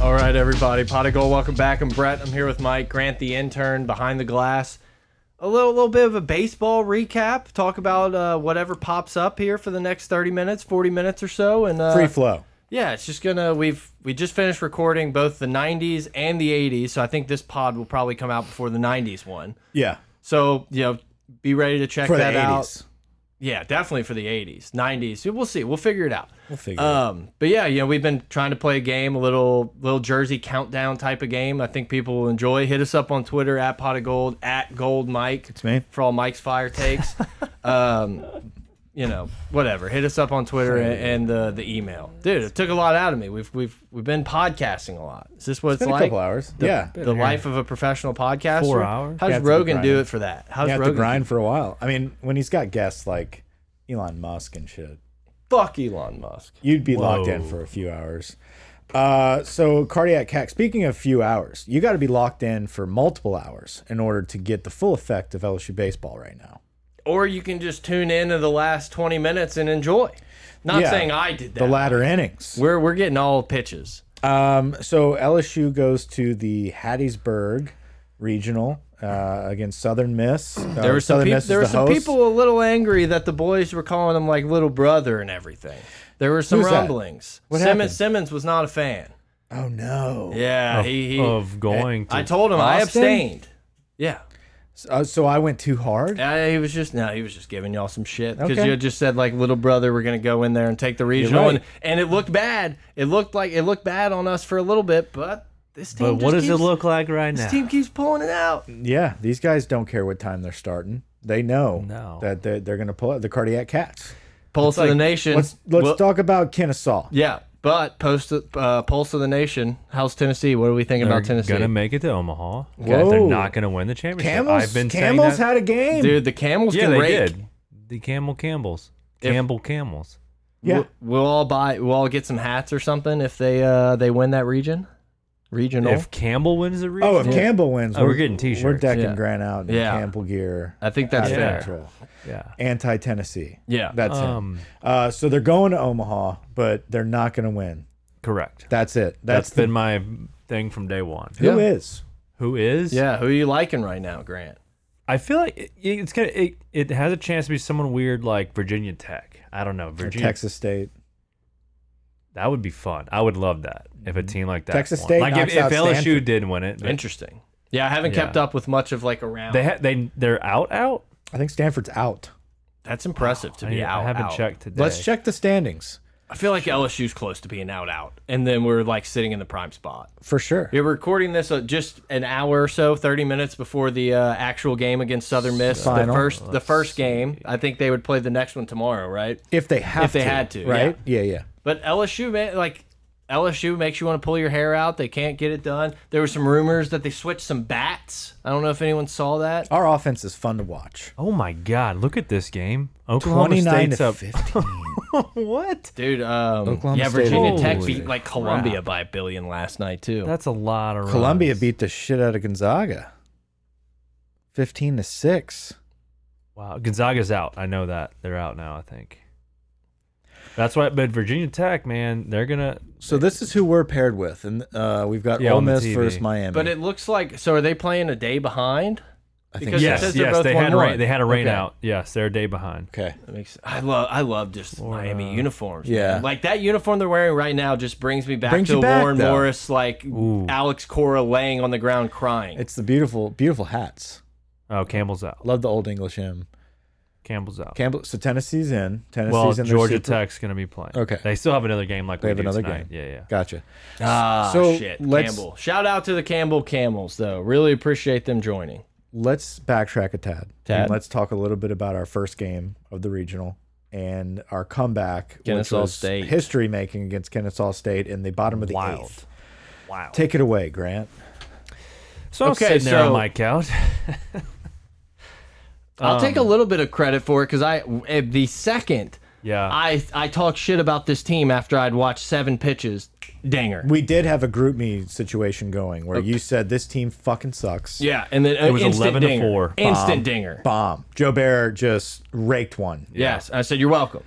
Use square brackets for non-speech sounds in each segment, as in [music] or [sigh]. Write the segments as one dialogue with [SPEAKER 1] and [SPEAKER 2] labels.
[SPEAKER 1] All right, everybody. Pot of Gold, welcome back. I'm Brett. I'm here with Mike Grant, the intern behind the glass. A little, little bit of a baseball recap. Talk about uh, whatever pops up here for the next 30 minutes, 40 minutes or so. And uh,
[SPEAKER 2] Free flow.
[SPEAKER 1] yeah, it's just gonna. We've we just finished recording both the 90s and the 80s, so I think this pod will probably come out before the 90s one.
[SPEAKER 2] Yeah.
[SPEAKER 1] So you know, be ready to check
[SPEAKER 2] For the
[SPEAKER 1] that out.
[SPEAKER 2] 80s.
[SPEAKER 1] Yeah, definitely for the 80s, 90s. We'll see. We'll figure it out.
[SPEAKER 2] We'll figure it
[SPEAKER 1] Um, but yeah, you know, we've been trying to play a game, a little little Jersey countdown type of game. I think people will enjoy. Hit us up on Twitter at Pot of Gold at Gold Mike. It's
[SPEAKER 2] me.
[SPEAKER 1] for all Mike's fire takes.
[SPEAKER 2] [laughs]
[SPEAKER 1] um, you know, whatever. Hit us up on Twitter and, and the the email, dude. It took a lot out of me. We've we've we've been podcasting a lot. Is this what it's,
[SPEAKER 2] Been a
[SPEAKER 1] like?
[SPEAKER 2] couple hours. yeah.
[SPEAKER 1] The life of a professional podcaster.
[SPEAKER 3] Four hours?
[SPEAKER 1] How's
[SPEAKER 2] Yeah, it's been
[SPEAKER 1] Rogan do
[SPEAKER 2] grinding.
[SPEAKER 1] it for that? How's
[SPEAKER 2] You have
[SPEAKER 1] Rogan?
[SPEAKER 2] to grind for a while. I mean, when he's got guests like Elon Musk and shit,
[SPEAKER 1] Fuck Elon Musk.
[SPEAKER 2] you'd be locked in for a few hours. Uh, so cardiac hack. Speaking of few hours, you got to be locked in for multiple hours in order to get the full effect of LSU baseball right now.
[SPEAKER 1] Or you can just tune in to the last twenty minutes and enjoy. Not
[SPEAKER 2] Yeah.
[SPEAKER 1] saying I did that.
[SPEAKER 2] The latter innings.
[SPEAKER 1] We're we're getting all pitches.
[SPEAKER 2] Um, so LSU goes to the Hattiesburg regional uh, against Southern Miss. Uh,
[SPEAKER 1] There were some,
[SPEAKER 2] Southern
[SPEAKER 1] peop-
[SPEAKER 2] Miss is
[SPEAKER 1] there were
[SPEAKER 2] the
[SPEAKER 1] some
[SPEAKER 2] host.
[SPEAKER 1] people a little angry that the boys were calling him like little brother and everything. There were some
[SPEAKER 2] Who's that?
[SPEAKER 1] rumblings.
[SPEAKER 2] What
[SPEAKER 1] Simmons
[SPEAKER 2] happened?
[SPEAKER 1] Simmons was not a fan.
[SPEAKER 2] Oh no!
[SPEAKER 1] Yeah, he, he
[SPEAKER 3] of going to
[SPEAKER 1] I told him I
[SPEAKER 2] Austin?
[SPEAKER 1] abstained. Yeah,
[SPEAKER 2] Uh, so I went too hard.
[SPEAKER 1] Uh, he was just no, he was just giving y'all some shit because
[SPEAKER 2] Okay.
[SPEAKER 1] you had just said like little brother, we're gonna go in there and take the regional,
[SPEAKER 2] right.
[SPEAKER 1] and, and it looked bad. It looked like it looked bad on us for a little bit, but this team.
[SPEAKER 3] But what does
[SPEAKER 1] just
[SPEAKER 3] it
[SPEAKER 1] keeps-
[SPEAKER 3] look like right
[SPEAKER 1] This
[SPEAKER 3] now?
[SPEAKER 1] team keeps pulling it out.
[SPEAKER 2] Yeah, these guys don't care what time they're starting. They know
[SPEAKER 3] No.
[SPEAKER 2] that they're, they're going to pull out the cardiac cats.
[SPEAKER 1] Pulse of the nation.
[SPEAKER 2] Let's let's
[SPEAKER 1] Well-
[SPEAKER 2] talk about Kennesaw.
[SPEAKER 1] Yeah, but post uh, pulse of the nation. How's Tennessee? What are we thinking
[SPEAKER 3] They're
[SPEAKER 1] about Tennessee?
[SPEAKER 3] gonna make it to Omaha.
[SPEAKER 2] Whoa.
[SPEAKER 3] They're not gonna win the championship.
[SPEAKER 2] Camels,
[SPEAKER 3] I've been saying
[SPEAKER 2] Camels
[SPEAKER 3] that.
[SPEAKER 2] had a game.
[SPEAKER 1] Dude, the camels
[SPEAKER 3] yeah,
[SPEAKER 1] can
[SPEAKER 3] they
[SPEAKER 1] rake.
[SPEAKER 3] did. The Camel Campbells, Campbell Camels.
[SPEAKER 2] yeah,
[SPEAKER 1] We'll, we'll all buy. We'll all get some hats or something if they uh they win that region, regional.
[SPEAKER 3] If Campbell wins the region,
[SPEAKER 2] Oh, if Campbell wins,
[SPEAKER 3] Oh, we're
[SPEAKER 2] we're-
[SPEAKER 3] getting
[SPEAKER 2] We're
[SPEAKER 3] t-shirts.
[SPEAKER 2] decking
[SPEAKER 1] Yeah.
[SPEAKER 2] Grant out in
[SPEAKER 1] Yeah.
[SPEAKER 2] Campbell gear.
[SPEAKER 1] I think that's
[SPEAKER 2] out of
[SPEAKER 3] fair.
[SPEAKER 2] control.
[SPEAKER 3] yeah,
[SPEAKER 2] Anti Tennessee.
[SPEAKER 1] Yeah.
[SPEAKER 2] that's
[SPEAKER 3] Um,
[SPEAKER 2] him. Uh, so they're going to Omaha, but they're not going to win.
[SPEAKER 3] correct.
[SPEAKER 2] That's it. That's,
[SPEAKER 3] That's
[SPEAKER 2] the
[SPEAKER 3] been my thing from day one.
[SPEAKER 2] who is.
[SPEAKER 1] Yeah.
[SPEAKER 3] Who is?
[SPEAKER 1] yeah, who are you liking right now, Grant?
[SPEAKER 3] I feel like it, it's kind of it, it has a chance to be someone weird like Virginia Tech. I don't know
[SPEAKER 2] Or
[SPEAKER 3] Virginia.
[SPEAKER 2] Texas State.
[SPEAKER 3] That would be fun. I would love that if a team like that.
[SPEAKER 2] Mm-hmm. Texas
[SPEAKER 3] won.
[SPEAKER 2] State
[SPEAKER 3] Like
[SPEAKER 2] knocks
[SPEAKER 3] if, if
[SPEAKER 2] out
[SPEAKER 3] LSU
[SPEAKER 2] Stanford.
[SPEAKER 3] did win it, but
[SPEAKER 1] Interesting. Yeah, I haven't kept
[SPEAKER 3] Yeah.
[SPEAKER 1] up with much of like around.
[SPEAKER 3] they ha- they they're out out.
[SPEAKER 2] I think Stanford's out.
[SPEAKER 1] that's impressive to
[SPEAKER 3] I
[SPEAKER 1] be
[SPEAKER 3] need- I
[SPEAKER 1] out.
[SPEAKER 3] haven't
[SPEAKER 1] out.
[SPEAKER 3] checked today.
[SPEAKER 2] Let's check the standings
[SPEAKER 1] I feel like LSU's close to being out out, and then we're like sitting in the prime spot.
[SPEAKER 2] for sure.
[SPEAKER 1] You're recording this uh, just an hour or so, 30 minutes before the uh, actual game against Southern Miss. The
[SPEAKER 2] Final.
[SPEAKER 1] first, the first game. I think they would play the next one tomorrow, right?
[SPEAKER 2] If they have
[SPEAKER 1] If they
[SPEAKER 2] to,
[SPEAKER 1] had to,
[SPEAKER 2] right? Yeah, yeah.
[SPEAKER 1] But LSU, man, like LSU makes you want to pull your hair out. They can't get it done. There were some rumors that they switched some bats. I don't know if anyone saw that.
[SPEAKER 2] Our offense is fun to watch.
[SPEAKER 3] Oh my God! Look at this game. Oklahoma
[SPEAKER 2] 29
[SPEAKER 3] State's
[SPEAKER 2] to
[SPEAKER 3] up.
[SPEAKER 2] 15.
[SPEAKER 3] [laughs] what?
[SPEAKER 1] Dude, um,
[SPEAKER 2] Oklahoma
[SPEAKER 1] yeah,
[SPEAKER 2] State.
[SPEAKER 1] Virginia Tech
[SPEAKER 3] Holy
[SPEAKER 1] beat like Columbia by a billion last night too.
[SPEAKER 3] That's a lot of
[SPEAKER 2] Columbia
[SPEAKER 3] runs.
[SPEAKER 2] beat the shit out of Gonzaga. 15 to 6.
[SPEAKER 3] Wow, Gonzaga's out. I know that they're out now. I think. That's why. But Virginia Tech, man, they're gonna.
[SPEAKER 2] So this is who we're paired with and uh, we've got
[SPEAKER 3] Yeah,
[SPEAKER 2] Ole
[SPEAKER 3] on the
[SPEAKER 2] Miss
[SPEAKER 3] TV.
[SPEAKER 2] versus Miami.
[SPEAKER 1] but it looks like so. Are they playing a day behind?
[SPEAKER 2] I
[SPEAKER 1] because it
[SPEAKER 2] so.
[SPEAKER 1] Yes, says
[SPEAKER 3] Yes,
[SPEAKER 1] they're
[SPEAKER 3] yes,
[SPEAKER 1] both
[SPEAKER 3] they had
[SPEAKER 1] one-one.
[SPEAKER 3] rain. They had a rain
[SPEAKER 1] Okay.
[SPEAKER 3] out. Yes, they're a day behind.
[SPEAKER 2] Okay.
[SPEAKER 1] That makes I love I love just Miami uniforms.
[SPEAKER 2] Yeah.
[SPEAKER 1] man. like that uniform they're wearing right now just brings me back
[SPEAKER 2] Brings
[SPEAKER 1] to
[SPEAKER 2] you back,
[SPEAKER 1] Warren
[SPEAKER 2] though.
[SPEAKER 1] Morris, like Alex Cora laying on the ground crying.
[SPEAKER 2] It's the beautiful beautiful hats.
[SPEAKER 3] Oh, Campbell's out.
[SPEAKER 2] Love the old English hymn.
[SPEAKER 3] Campbell's out.
[SPEAKER 2] Campbell so Tennessee's in. Tennessee's
[SPEAKER 3] well,
[SPEAKER 2] in their
[SPEAKER 3] Georgia
[SPEAKER 2] super-
[SPEAKER 3] Tech's gonna be playing.
[SPEAKER 2] Okay.
[SPEAKER 3] They still have another game like
[SPEAKER 2] They
[SPEAKER 3] we
[SPEAKER 2] have
[SPEAKER 3] do
[SPEAKER 2] another
[SPEAKER 3] tonight.
[SPEAKER 2] game.
[SPEAKER 3] Yeah, yeah.
[SPEAKER 2] Gotcha.
[SPEAKER 1] ah,
[SPEAKER 2] so
[SPEAKER 1] shit,
[SPEAKER 2] let's-
[SPEAKER 1] Campbell. Shout out to the Campbell Camels though. Really appreciate them joining.
[SPEAKER 2] Let's backtrack a tad.
[SPEAKER 1] Tad.
[SPEAKER 2] And let's talk a little bit about our first game of the regional and our comeback,
[SPEAKER 1] Kennesaw
[SPEAKER 2] which was
[SPEAKER 1] State.
[SPEAKER 2] history making against Kennesaw State in the bottom of the
[SPEAKER 3] Wild.
[SPEAKER 2] eighth.
[SPEAKER 3] Wow.
[SPEAKER 2] Take it away, Grant.
[SPEAKER 3] so I'm
[SPEAKER 1] Okay,
[SPEAKER 3] sitting there
[SPEAKER 1] so-
[SPEAKER 3] on my couch.
[SPEAKER 1] I'll take a little bit of credit for it because I eh, the second
[SPEAKER 3] Yeah.
[SPEAKER 1] I I talked shit about this team after I'd watched seven pitches. Danger.
[SPEAKER 2] We did have a group me situation going where you said this team fucking sucks.
[SPEAKER 1] Yeah, and then it
[SPEAKER 3] was
[SPEAKER 1] instant
[SPEAKER 3] 11 to
[SPEAKER 1] dinger.
[SPEAKER 3] four.
[SPEAKER 1] Instant dinger.
[SPEAKER 2] Bomb. Joe Bear just raked one.
[SPEAKER 1] Yes, I said you're welcome.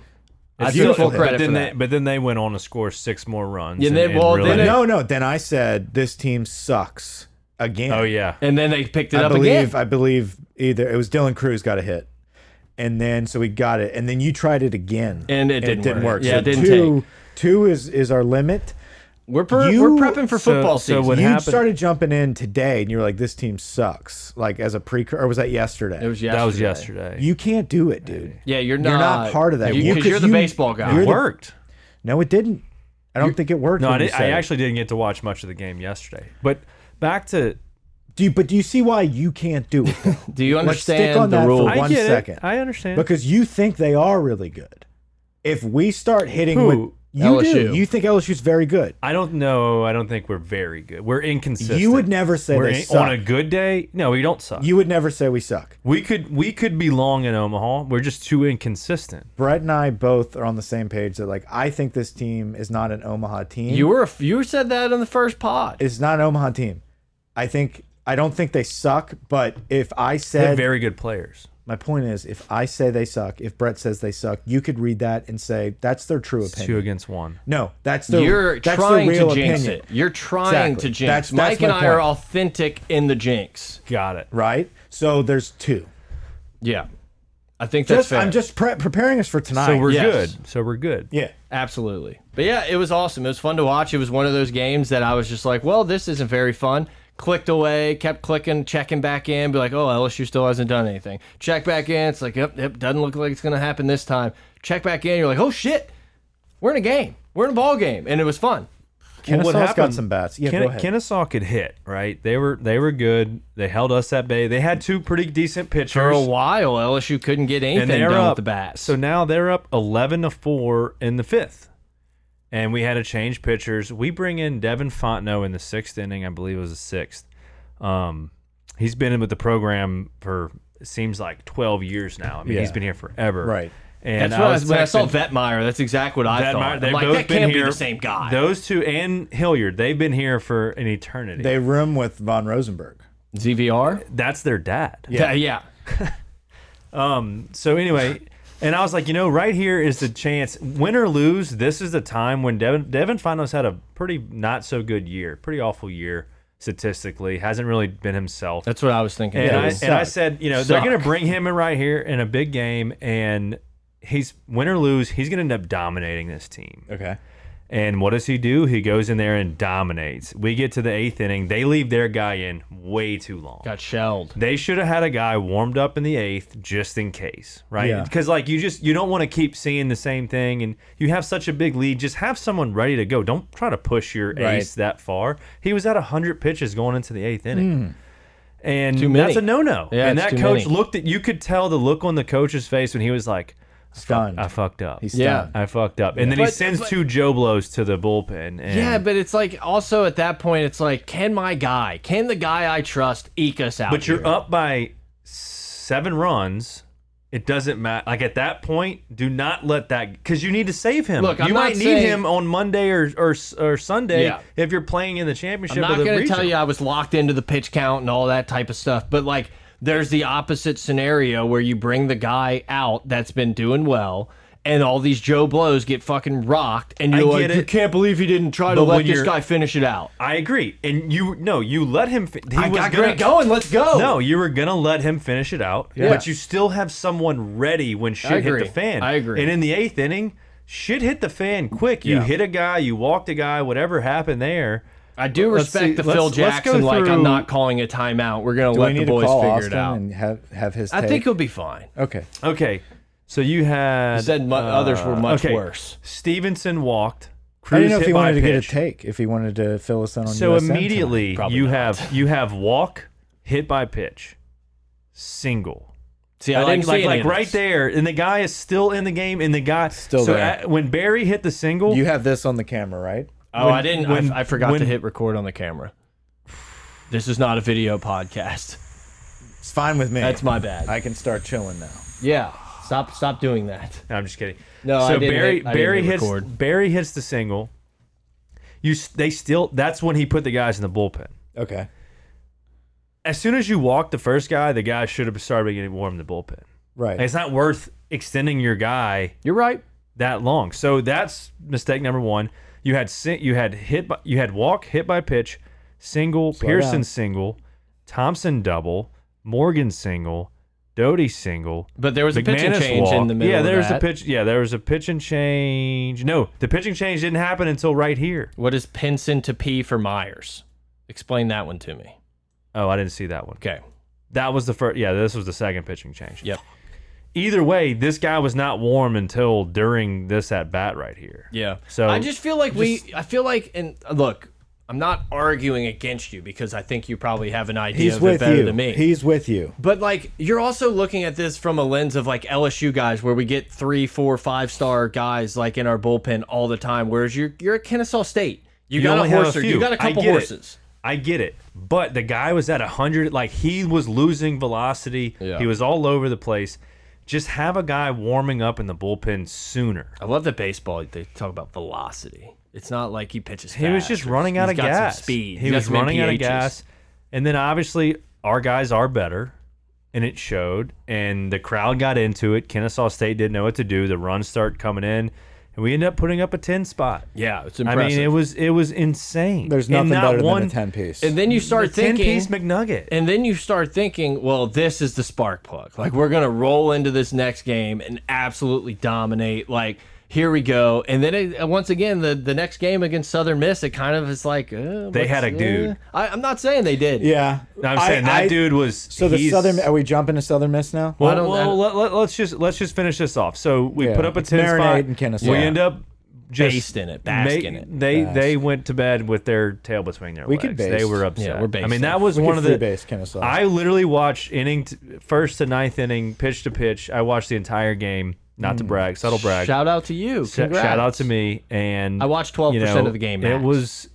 [SPEAKER 3] I
[SPEAKER 1] give
[SPEAKER 3] still-
[SPEAKER 1] full credit
[SPEAKER 3] [laughs] but then
[SPEAKER 1] for
[SPEAKER 3] they,
[SPEAKER 1] that.
[SPEAKER 3] But then they went on to score six more runs.
[SPEAKER 1] Yeah,
[SPEAKER 3] and,
[SPEAKER 1] they-
[SPEAKER 3] and
[SPEAKER 1] well,
[SPEAKER 3] really-
[SPEAKER 1] then it-
[SPEAKER 2] No, no. Then I said this team sucks again.
[SPEAKER 3] oh yeah,
[SPEAKER 1] And then they picked it
[SPEAKER 2] I
[SPEAKER 1] up
[SPEAKER 2] believe
[SPEAKER 1] again.
[SPEAKER 2] I believe either it was Dylan Cruz got a hit, and then so we got it, and then you tried it again,
[SPEAKER 1] And it didn't work. Yeah,
[SPEAKER 2] so
[SPEAKER 1] it didn't
[SPEAKER 2] two, two is is our limit.
[SPEAKER 1] We're pre
[SPEAKER 2] You-
[SPEAKER 1] we're prepping for
[SPEAKER 3] so-
[SPEAKER 1] football
[SPEAKER 3] so
[SPEAKER 1] season.
[SPEAKER 3] What
[SPEAKER 2] you
[SPEAKER 3] happened-
[SPEAKER 2] started jumping in today, and you were like, "This team sucks." Like as a pre, or was that yesterday?
[SPEAKER 1] it was yesterday.
[SPEAKER 3] that was yesterday.
[SPEAKER 2] you can't do it, dude.
[SPEAKER 1] Yeah, you're not.
[SPEAKER 2] You're not part of that.
[SPEAKER 1] You,
[SPEAKER 2] You-
[SPEAKER 1] because
[SPEAKER 2] 'cause
[SPEAKER 1] you're the
[SPEAKER 2] you-
[SPEAKER 1] baseball guy.
[SPEAKER 2] you're
[SPEAKER 3] it
[SPEAKER 2] the-
[SPEAKER 3] worked.
[SPEAKER 2] No, it didn't. I don't think it worked.
[SPEAKER 3] No, I,
[SPEAKER 2] when you
[SPEAKER 3] did,
[SPEAKER 2] said
[SPEAKER 3] I
[SPEAKER 2] it.
[SPEAKER 3] actually didn't get to watch much of the game yesterday. But back to
[SPEAKER 2] Do you, but do you see why you can't do it? though?
[SPEAKER 1] [laughs] Do you
[SPEAKER 2] Let's stick
[SPEAKER 1] understand
[SPEAKER 2] on
[SPEAKER 1] the
[SPEAKER 2] that for
[SPEAKER 1] rule?
[SPEAKER 2] one
[SPEAKER 3] I get
[SPEAKER 2] second.
[SPEAKER 3] It. I understand.
[SPEAKER 2] because you think they are really good. If we start hitting
[SPEAKER 3] Who?
[SPEAKER 2] with you do,
[SPEAKER 1] LSU.
[SPEAKER 2] you think LSU's very good.
[SPEAKER 3] I don't know. I don't think we're very good. We're inconsistent.
[SPEAKER 2] You would never say
[SPEAKER 3] We're
[SPEAKER 2] they
[SPEAKER 3] in-
[SPEAKER 2] suck.
[SPEAKER 3] on a good day. No, we don't suck.
[SPEAKER 2] You would never say we suck.
[SPEAKER 3] we could we could belong in Omaha. We're just too inconsistent.
[SPEAKER 2] Brett and I both are on the same page that like I think this team is not an Omaha team.
[SPEAKER 1] You were a f- you said that in the first pod.
[SPEAKER 2] it's not an Omaha team. I think I don't think they suck, but if I
[SPEAKER 3] They have
[SPEAKER 2] said
[SPEAKER 3] very good players.
[SPEAKER 2] my point is if I say they suck, if Brett says they suck, you could read that and say that's their true
[SPEAKER 3] Two
[SPEAKER 2] opinion.
[SPEAKER 3] against one.
[SPEAKER 2] No, that's their
[SPEAKER 1] You're
[SPEAKER 2] that's
[SPEAKER 1] trying
[SPEAKER 2] their real
[SPEAKER 1] to jinx
[SPEAKER 2] opinion,
[SPEAKER 1] it. You're trying
[SPEAKER 2] Exactly.
[SPEAKER 1] to jinx.
[SPEAKER 2] That's-
[SPEAKER 1] Mike
[SPEAKER 2] that's my
[SPEAKER 1] and I are
[SPEAKER 2] point.
[SPEAKER 1] authentic in the jinx.
[SPEAKER 3] Got it.
[SPEAKER 2] right? So there's two.
[SPEAKER 1] Yeah, I think that's
[SPEAKER 2] Just-
[SPEAKER 1] fair.
[SPEAKER 2] I'm just pre preparing us for tonight.
[SPEAKER 3] So we're
[SPEAKER 1] Yes.
[SPEAKER 3] good. So we're good.
[SPEAKER 2] yeah.
[SPEAKER 1] Absolutely. But yeah, it was awesome. It was fun to watch. It was one of those games that I was just like, well, this isn't very fun. Clicked away, kept clicking, checking back in, be like, oh, LSU still hasn't done anything. Check back in. It's like, yep, yep, doesn't look like it's going to happen this time. Check back in. You're like, oh, shit, we're in a game. We're in a ball game. And it was fun.
[SPEAKER 3] Well, what
[SPEAKER 2] Kennesaw's got
[SPEAKER 3] happened-
[SPEAKER 2] some bats. Yeah,
[SPEAKER 3] Ken-
[SPEAKER 2] go ahead.
[SPEAKER 3] Kennesaw could hit, right? They were they were good. They held us at bay. They had two pretty decent pitchers.
[SPEAKER 1] For a while, LSU couldn't get anything
[SPEAKER 3] and they're
[SPEAKER 1] done
[SPEAKER 3] up
[SPEAKER 1] with the bat.
[SPEAKER 3] So now they're up eleven to four in the fifth, and we had to change pitchers. We bring in Devin Fontenot in the sixth inning, I believe it was the sixth. Um, he's been in with the program for it seems like twelve years now. I mean, he's
[SPEAKER 2] Yeah.
[SPEAKER 3] been here forever,
[SPEAKER 2] Right.
[SPEAKER 3] And uh,
[SPEAKER 1] that's what I,
[SPEAKER 3] was
[SPEAKER 1] when I saw
[SPEAKER 3] texting-
[SPEAKER 1] Vetmeyer, that's exactly what I
[SPEAKER 3] That
[SPEAKER 1] thought.
[SPEAKER 3] might-
[SPEAKER 1] I'm
[SPEAKER 3] they've
[SPEAKER 1] like,
[SPEAKER 3] both
[SPEAKER 1] that
[SPEAKER 3] been
[SPEAKER 1] can't
[SPEAKER 3] here.
[SPEAKER 1] be the same guy.
[SPEAKER 3] Those two and Hilliard, they've been here for an eternity.
[SPEAKER 2] they room with Von Rosenberg.
[SPEAKER 1] ZVR?
[SPEAKER 3] That's their dad.
[SPEAKER 1] Yeah. yeah. [laughs]
[SPEAKER 3] So anyway, and I was like, you know, right here is the chance. Win or lose, this is the time when Devin Devin Finals had a pretty not so good year, pretty awful year statistically. Hasn't really been himself.
[SPEAKER 1] That's what I was thinking.
[SPEAKER 3] and
[SPEAKER 1] too.
[SPEAKER 3] I
[SPEAKER 2] it
[SPEAKER 3] and I
[SPEAKER 2] sucked.
[SPEAKER 3] said, you know, they're gonna
[SPEAKER 1] Suck.
[SPEAKER 3] bring him in right here in a big game, and he's win or lose, he's gonna end up dominating this team.
[SPEAKER 2] Okay.
[SPEAKER 3] And what does he do? He goes in there and dominates. We get to the eighth inning, they leave their guy in way too long.
[SPEAKER 1] Got shelled.
[SPEAKER 3] They should have had a guy warmed up in the eighth just in case, right?
[SPEAKER 2] Yeah.
[SPEAKER 3] Because like you just you don't want to keep seeing the same thing, and you have such a big lead. Just have someone ready to go. Don't try to push your
[SPEAKER 2] Right.
[SPEAKER 3] ace that far. He was at hundred pitches going into the eighth inning. And
[SPEAKER 1] Hmm. Too many.
[SPEAKER 3] that's a no no.
[SPEAKER 1] Yeah,
[SPEAKER 3] and
[SPEAKER 1] it's
[SPEAKER 3] that
[SPEAKER 1] too
[SPEAKER 3] coach
[SPEAKER 1] many.
[SPEAKER 3] looked at you could tell the look on the coach's face when he was like,
[SPEAKER 2] Stunned.
[SPEAKER 3] I fucked up.
[SPEAKER 2] He's
[SPEAKER 1] Yeah.
[SPEAKER 2] stunned.
[SPEAKER 3] I fucked up. And then he
[SPEAKER 1] But-
[SPEAKER 3] sends
[SPEAKER 1] but-
[SPEAKER 3] two Joe blows to the bullpen. And
[SPEAKER 1] Yeah, but it's like also at that point, it's like, can my guy, can the guy I trust eke us out?
[SPEAKER 3] But you're
[SPEAKER 1] here?
[SPEAKER 3] up by seven runs. It doesn't matter. Like at that point, do not let that because you need to save him.
[SPEAKER 1] Look, I'm
[SPEAKER 3] you
[SPEAKER 1] not
[SPEAKER 3] might need
[SPEAKER 1] saying-
[SPEAKER 3] him on Monday or or, or Sunday
[SPEAKER 1] Yeah.
[SPEAKER 3] if you're playing in the championship.
[SPEAKER 1] I'm not
[SPEAKER 3] or the
[SPEAKER 1] going to
[SPEAKER 3] regional.
[SPEAKER 1] tell you I was locked into the pitch count and all that type of stuff, but like there's the opposite scenario where you bring the guy out that's been doing well. And all these Joe blows get fucking rocked, and you're
[SPEAKER 3] I
[SPEAKER 1] like,
[SPEAKER 3] get
[SPEAKER 1] you
[SPEAKER 3] it.
[SPEAKER 1] can't believe he didn't try to
[SPEAKER 3] But
[SPEAKER 1] let
[SPEAKER 3] when
[SPEAKER 1] this
[SPEAKER 3] you're-
[SPEAKER 1] guy finish it out.
[SPEAKER 3] I agree, and you no, you let him. Fi he
[SPEAKER 1] I
[SPEAKER 3] was
[SPEAKER 1] got
[SPEAKER 3] gonna,
[SPEAKER 1] Grant going. Let's go.
[SPEAKER 3] No, you were gonna let him finish it out, but you still have someone ready when shit hit
[SPEAKER 1] agree.
[SPEAKER 3] the fan.
[SPEAKER 1] I agree.
[SPEAKER 3] And in the eighth inning, shit hit the fan quick. You
[SPEAKER 1] Yeah.
[SPEAKER 3] hit a guy, you walked a guy, whatever happened there.
[SPEAKER 1] I do
[SPEAKER 3] Let's
[SPEAKER 1] respect
[SPEAKER 3] see-
[SPEAKER 1] the
[SPEAKER 3] let's-
[SPEAKER 1] Phil
[SPEAKER 3] let's go
[SPEAKER 1] Jackson. like, I'm
[SPEAKER 3] through-
[SPEAKER 1] not calling a timeout. We're gonna
[SPEAKER 2] Do
[SPEAKER 1] let
[SPEAKER 2] we
[SPEAKER 1] the
[SPEAKER 2] need to
[SPEAKER 1] boys
[SPEAKER 2] call
[SPEAKER 1] figure
[SPEAKER 2] Austin
[SPEAKER 1] it out.
[SPEAKER 2] and have have his?
[SPEAKER 1] I
[SPEAKER 2] take?
[SPEAKER 1] think he'll be fine.
[SPEAKER 2] okay.
[SPEAKER 3] Okay, so you had uh,
[SPEAKER 1] Said mu- others were much
[SPEAKER 3] okay.
[SPEAKER 1] worse.
[SPEAKER 3] Stevenson walked. Cruz
[SPEAKER 2] I didn't know if
[SPEAKER 3] hit
[SPEAKER 2] he
[SPEAKER 3] by
[SPEAKER 2] wanted to get a
[SPEAKER 3] pitch.
[SPEAKER 2] take. If he wanted to fill us in on
[SPEAKER 3] So
[SPEAKER 2] USM tonight.
[SPEAKER 3] immediately
[SPEAKER 1] Probably
[SPEAKER 3] you
[SPEAKER 1] not.
[SPEAKER 3] have you have walk, hit by pitch, single, See,
[SPEAKER 1] I didn't see
[SPEAKER 3] like,
[SPEAKER 1] any
[SPEAKER 3] like
[SPEAKER 1] of
[SPEAKER 3] right
[SPEAKER 1] this.
[SPEAKER 3] there, and the guy is still in the game, and the guy
[SPEAKER 2] Still
[SPEAKER 3] so
[SPEAKER 2] there.
[SPEAKER 3] at- when Barry hit the single,
[SPEAKER 2] You have this on the camera, right?
[SPEAKER 1] Oh,
[SPEAKER 3] When-
[SPEAKER 1] I didn't. I-
[SPEAKER 3] when-
[SPEAKER 1] I, forgot
[SPEAKER 3] when-
[SPEAKER 1] to hit record on the camera. This is not a video podcast.
[SPEAKER 2] It's fine with me.
[SPEAKER 1] That's my bad.
[SPEAKER 2] I can start chilling now.
[SPEAKER 1] [laughs] yeah. Stop. Stop doing that.
[SPEAKER 3] No, I'm just kidding.
[SPEAKER 1] No, I
[SPEAKER 3] so
[SPEAKER 1] didn't
[SPEAKER 3] Barry
[SPEAKER 1] hit- I didn't
[SPEAKER 3] Barry
[SPEAKER 1] hit
[SPEAKER 3] hits
[SPEAKER 1] record.
[SPEAKER 3] Barry hits the single. You s- they still that's when he put the guys in the bullpen.
[SPEAKER 2] Okay.
[SPEAKER 3] As soon as you walk the first guy, the guy should have started getting warm in the bullpen.
[SPEAKER 2] Right.
[SPEAKER 3] Like, it's not worth extending your guy
[SPEAKER 1] You're right.
[SPEAKER 3] that long. So that's mistake number one. You had sin- you had hit by, you had walk hit by pitch, single Pearson
[SPEAKER 2] down.
[SPEAKER 3] single, Thompson double, Morgan single, Doty single.
[SPEAKER 1] But there was a pitching
[SPEAKER 3] McManus
[SPEAKER 1] change in
[SPEAKER 3] walked.
[SPEAKER 1] the middle.
[SPEAKER 3] Yeah, there
[SPEAKER 1] of
[SPEAKER 3] was
[SPEAKER 1] that.
[SPEAKER 3] a pitch. Yeah, there was a pitch and change. No, the pitching change didn't happen until right here.
[SPEAKER 1] What is Pinson to P for Myers? Explain that one to me.
[SPEAKER 3] Oh, I didn't see that one.
[SPEAKER 1] Okay.
[SPEAKER 3] That was the first. Yeah, this was the second pitching change.
[SPEAKER 1] Yep.
[SPEAKER 3] Either way, this guy was not warm until during this at bat right here.
[SPEAKER 1] Yeah.
[SPEAKER 3] So
[SPEAKER 1] I just feel like we. I feel like, and look, I'm not arguing against you because I think you probably have an idea
[SPEAKER 2] He's
[SPEAKER 1] of it
[SPEAKER 2] with
[SPEAKER 1] better
[SPEAKER 2] you.
[SPEAKER 1] than me.
[SPEAKER 2] He's with you.
[SPEAKER 1] But like you're also looking at this from a lens of like LSU guys, where we get three, four, five star guys like in our bullpen all the time. Whereas you're you're at Kennesaw State, you,
[SPEAKER 3] You
[SPEAKER 1] got
[SPEAKER 3] only
[SPEAKER 1] a
[SPEAKER 3] have
[SPEAKER 1] horse, or
[SPEAKER 3] few.
[SPEAKER 1] you got a
[SPEAKER 3] I
[SPEAKER 1] couple
[SPEAKER 3] get it.
[SPEAKER 1] horses.
[SPEAKER 3] I get it, but the guy was at 100. Like he was losing velocity.
[SPEAKER 1] Yeah.
[SPEAKER 3] He was all over the place. Just have a guy warming up in the bullpen sooner.
[SPEAKER 1] I love that baseball. They talk about velocity. It's not like he pitches.
[SPEAKER 3] He was
[SPEAKER 1] fast
[SPEAKER 3] just
[SPEAKER 1] or
[SPEAKER 3] running out
[SPEAKER 1] he's
[SPEAKER 3] of
[SPEAKER 1] got some
[SPEAKER 3] gas.
[SPEAKER 1] speed.
[SPEAKER 3] He
[SPEAKER 1] He's got
[SPEAKER 3] was
[SPEAKER 1] some
[SPEAKER 3] running out of
[SPEAKER 1] MPHs.
[SPEAKER 3] gas. And then obviously our guys are better, and it showed. And the crowd got into it. Kennesaw State didn't know what to do. The runs start coming in, and we end up putting up a ten spot.
[SPEAKER 1] Yeah, it's
[SPEAKER 3] I
[SPEAKER 1] impressive.
[SPEAKER 3] mean, it was it was insane.
[SPEAKER 2] There's
[SPEAKER 3] And
[SPEAKER 2] nothing
[SPEAKER 3] not
[SPEAKER 2] better
[SPEAKER 3] one,
[SPEAKER 2] than a ten piece.
[SPEAKER 1] and then you start
[SPEAKER 3] ten
[SPEAKER 1] thinking
[SPEAKER 3] piece McNugget.
[SPEAKER 1] And then you start thinking, well, this is the spark plug. Like we're gonna roll into this next game and absolutely dominate. Like here we go. And then it, uh, once again, the the next game against Southern Miss, it kind of is like uh,
[SPEAKER 3] They had
[SPEAKER 1] what's-
[SPEAKER 3] a dude.
[SPEAKER 1] uh, I, I'm not saying they did.
[SPEAKER 2] yeah.
[SPEAKER 3] No, I'm saying that
[SPEAKER 2] I-
[SPEAKER 3] dude was
[SPEAKER 2] So the
[SPEAKER 3] he's-
[SPEAKER 2] southern. Are we jumping to Southern Miss now?
[SPEAKER 3] Well,
[SPEAKER 1] I don't- I
[SPEAKER 3] well
[SPEAKER 1] don't-
[SPEAKER 3] let, let, us just let's just finish this off. So we
[SPEAKER 2] Yeah,
[SPEAKER 3] put up a
[SPEAKER 2] it's
[SPEAKER 3] ten spot.
[SPEAKER 2] marinade in Kennesaw.
[SPEAKER 3] We
[SPEAKER 2] Yeah.
[SPEAKER 3] end up just
[SPEAKER 1] Bask in it, bask
[SPEAKER 3] ma-
[SPEAKER 1] in it.
[SPEAKER 3] They
[SPEAKER 2] Bask.
[SPEAKER 3] they went to bed with their tail between their
[SPEAKER 2] We
[SPEAKER 3] legs.
[SPEAKER 2] could
[SPEAKER 3] They
[SPEAKER 2] bask.
[SPEAKER 3] were upset.
[SPEAKER 1] Yeah, we're basing
[SPEAKER 3] I mean, that
[SPEAKER 1] it.
[SPEAKER 3] was
[SPEAKER 2] We could
[SPEAKER 3] one of
[SPEAKER 2] free
[SPEAKER 3] the
[SPEAKER 2] base Kennesaw.
[SPEAKER 3] I literally watched inning t first to ninth inning, pitch to pitch. I watched the entire game. Not
[SPEAKER 1] Mm.
[SPEAKER 3] to brag, subtle brag.
[SPEAKER 1] Shout out to you.
[SPEAKER 3] Sh-
[SPEAKER 1] Congrats.
[SPEAKER 3] shout out to me and
[SPEAKER 1] I watched 12%
[SPEAKER 3] you know,
[SPEAKER 1] of the game,
[SPEAKER 3] It
[SPEAKER 1] max.
[SPEAKER 3] was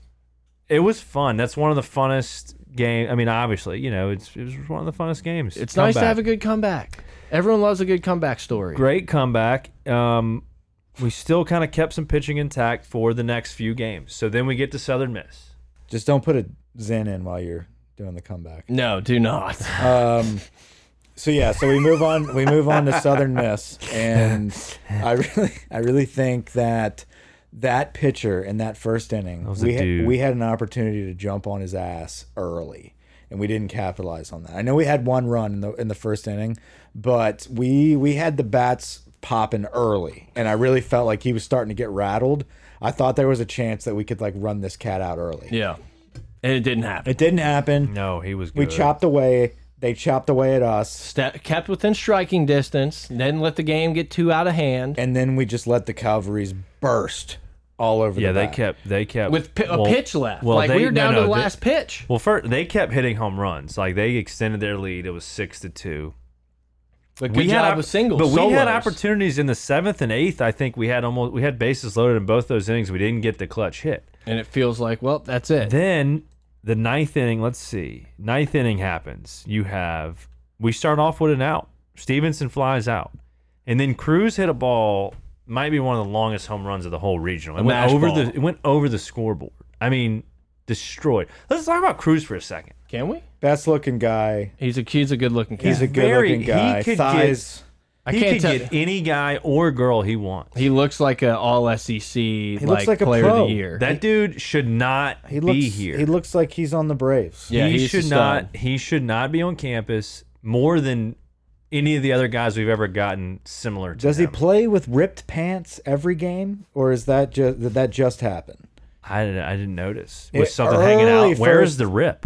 [SPEAKER 3] it was fun. That's one of the funnest game. I mean, obviously, you know, it's it was one of the funnest games.
[SPEAKER 1] It's nice to
[SPEAKER 3] Comeback
[SPEAKER 1] have a good comeback. Everyone loves a good comeback story.
[SPEAKER 3] great comeback. Um, we still kind of kept some pitching intact for the next few games. So then we get to Southern Miss.
[SPEAKER 2] Just don't put a Zen in while you're doing the comeback.
[SPEAKER 1] No, do
[SPEAKER 3] [laughs]
[SPEAKER 1] not.
[SPEAKER 2] Um, so yeah, so we move on. We move on to Southern Miss,
[SPEAKER 3] [laughs]
[SPEAKER 2] and I really, I really think that that pitcher in that first inning,
[SPEAKER 3] was a
[SPEAKER 2] we had,
[SPEAKER 3] dude.
[SPEAKER 2] we had an opportunity to jump on his ass early, and we didn't capitalize on that. I know we had one run in the in the first inning, but we we had the bats popping early, and I really felt like he was starting to get rattled. I thought there was a chance that we could like run this cat out early.
[SPEAKER 1] yeah, and it didn't happen.
[SPEAKER 2] It didn't happen.
[SPEAKER 3] No, he was
[SPEAKER 2] We
[SPEAKER 3] good.
[SPEAKER 2] chopped away. They chopped away at us.
[SPEAKER 1] Ste- kept within striking distance. Didn't let the game get too out of hand.
[SPEAKER 2] and then we just let the Calvaries burst all over.
[SPEAKER 3] Yeah,
[SPEAKER 2] the
[SPEAKER 3] they
[SPEAKER 2] bat.
[SPEAKER 3] kept. They kept
[SPEAKER 1] With pi a
[SPEAKER 3] well-
[SPEAKER 1] pitch left.
[SPEAKER 3] well,
[SPEAKER 1] like
[SPEAKER 3] they-
[SPEAKER 1] we were
[SPEAKER 3] no,
[SPEAKER 1] down
[SPEAKER 3] no,
[SPEAKER 1] to the
[SPEAKER 3] they-
[SPEAKER 1] last pitch.
[SPEAKER 3] Well, first they kept hitting home runs. Like they extended their lead. It was six to two.
[SPEAKER 1] But good job
[SPEAKER 3] opp-
[SPEAKER 1] with singles.
[SPEAKER 3] but we had
[SPEAKER 1] solos.
[SPEAKER 3] opportunities in the seventh and eighth. I think we had almost we had bases loaded in both those innings. We didn't get the clutch hit.
[SPEAKER 1] and it feels like well, that's it.
[SPEAKER 3] Then the ninth inning, let's see. Ninth inning happens. You have we start off with an out. Stevenson flies out. And then Cruz hit a ball, might be one of the longest home runs of the whole regional. It
[SPEAKER 1] A
[SPEAKER 3] went
[SPEAKER 1] mash
[SPEAKER 3] over
[SPEAKER 1] ball.
[SPEAKER 3] the it went over the scoreboard. I mean, destroyed. Let's talk about Cruz for a second.
[SPEAKER 1] Can we?
[SPEAKER 2] best looking guy.
[SPEAKER 1] He's a he's a good looking cat.
[SPEAKER 2] He's a good
[SPEAKER 3] very-
[SPEAKER 2] looking guy.
[SPEAKER 3] he could
[SPEAKER 2] Thighs.
[SPEAKER 1] I
[SPEAKER 3] he
[SPEAKER 1] can't
[SPEAKER 3] could
[SPEAKER 1] tell
[SPEAKER 3] get any guy or girl he wants.
[SPEAKER 1] he looks like a all SEC like,
[SPEAKER 2] looks like a
[SPEAKER 1] player
[SPEAKER 2] pro.
[SPEAKER 1] of the year.
[SPEAKER 3] That dude should not
[SPEAKER 2] he looks.
[SPEAKER 3] be here.
[SPEAKER 2] He looks like he's on the Braves.
[SPEAKER 1] Yeah,
[SPEAKER 3] he
[SPEAKER 1] he's um, a
[SPEAKER 3] should
[SPEAKER 1] stud.
[SPEAKER 3] not. He should not be on campus more than any of the other guys we've ever gotten similar to.
[SPEAKER 2] Does he
[SPEAKER 3] him.
[SPEAKER 2] play with ripped pants every game, or is that just did that just happen?
[SPEAKER 3] I didn't, I didn't notice. With
[SPEAKER 2] It-
[SPEAKER 3] something hanging
[SPEAKER 2] Eh,
[SPEAKER 3] out.
[SPEAKER 2] early
[SPEAKER 3] Where's
[SPEAKER 2] first-
[SPEAKER 3] the rip?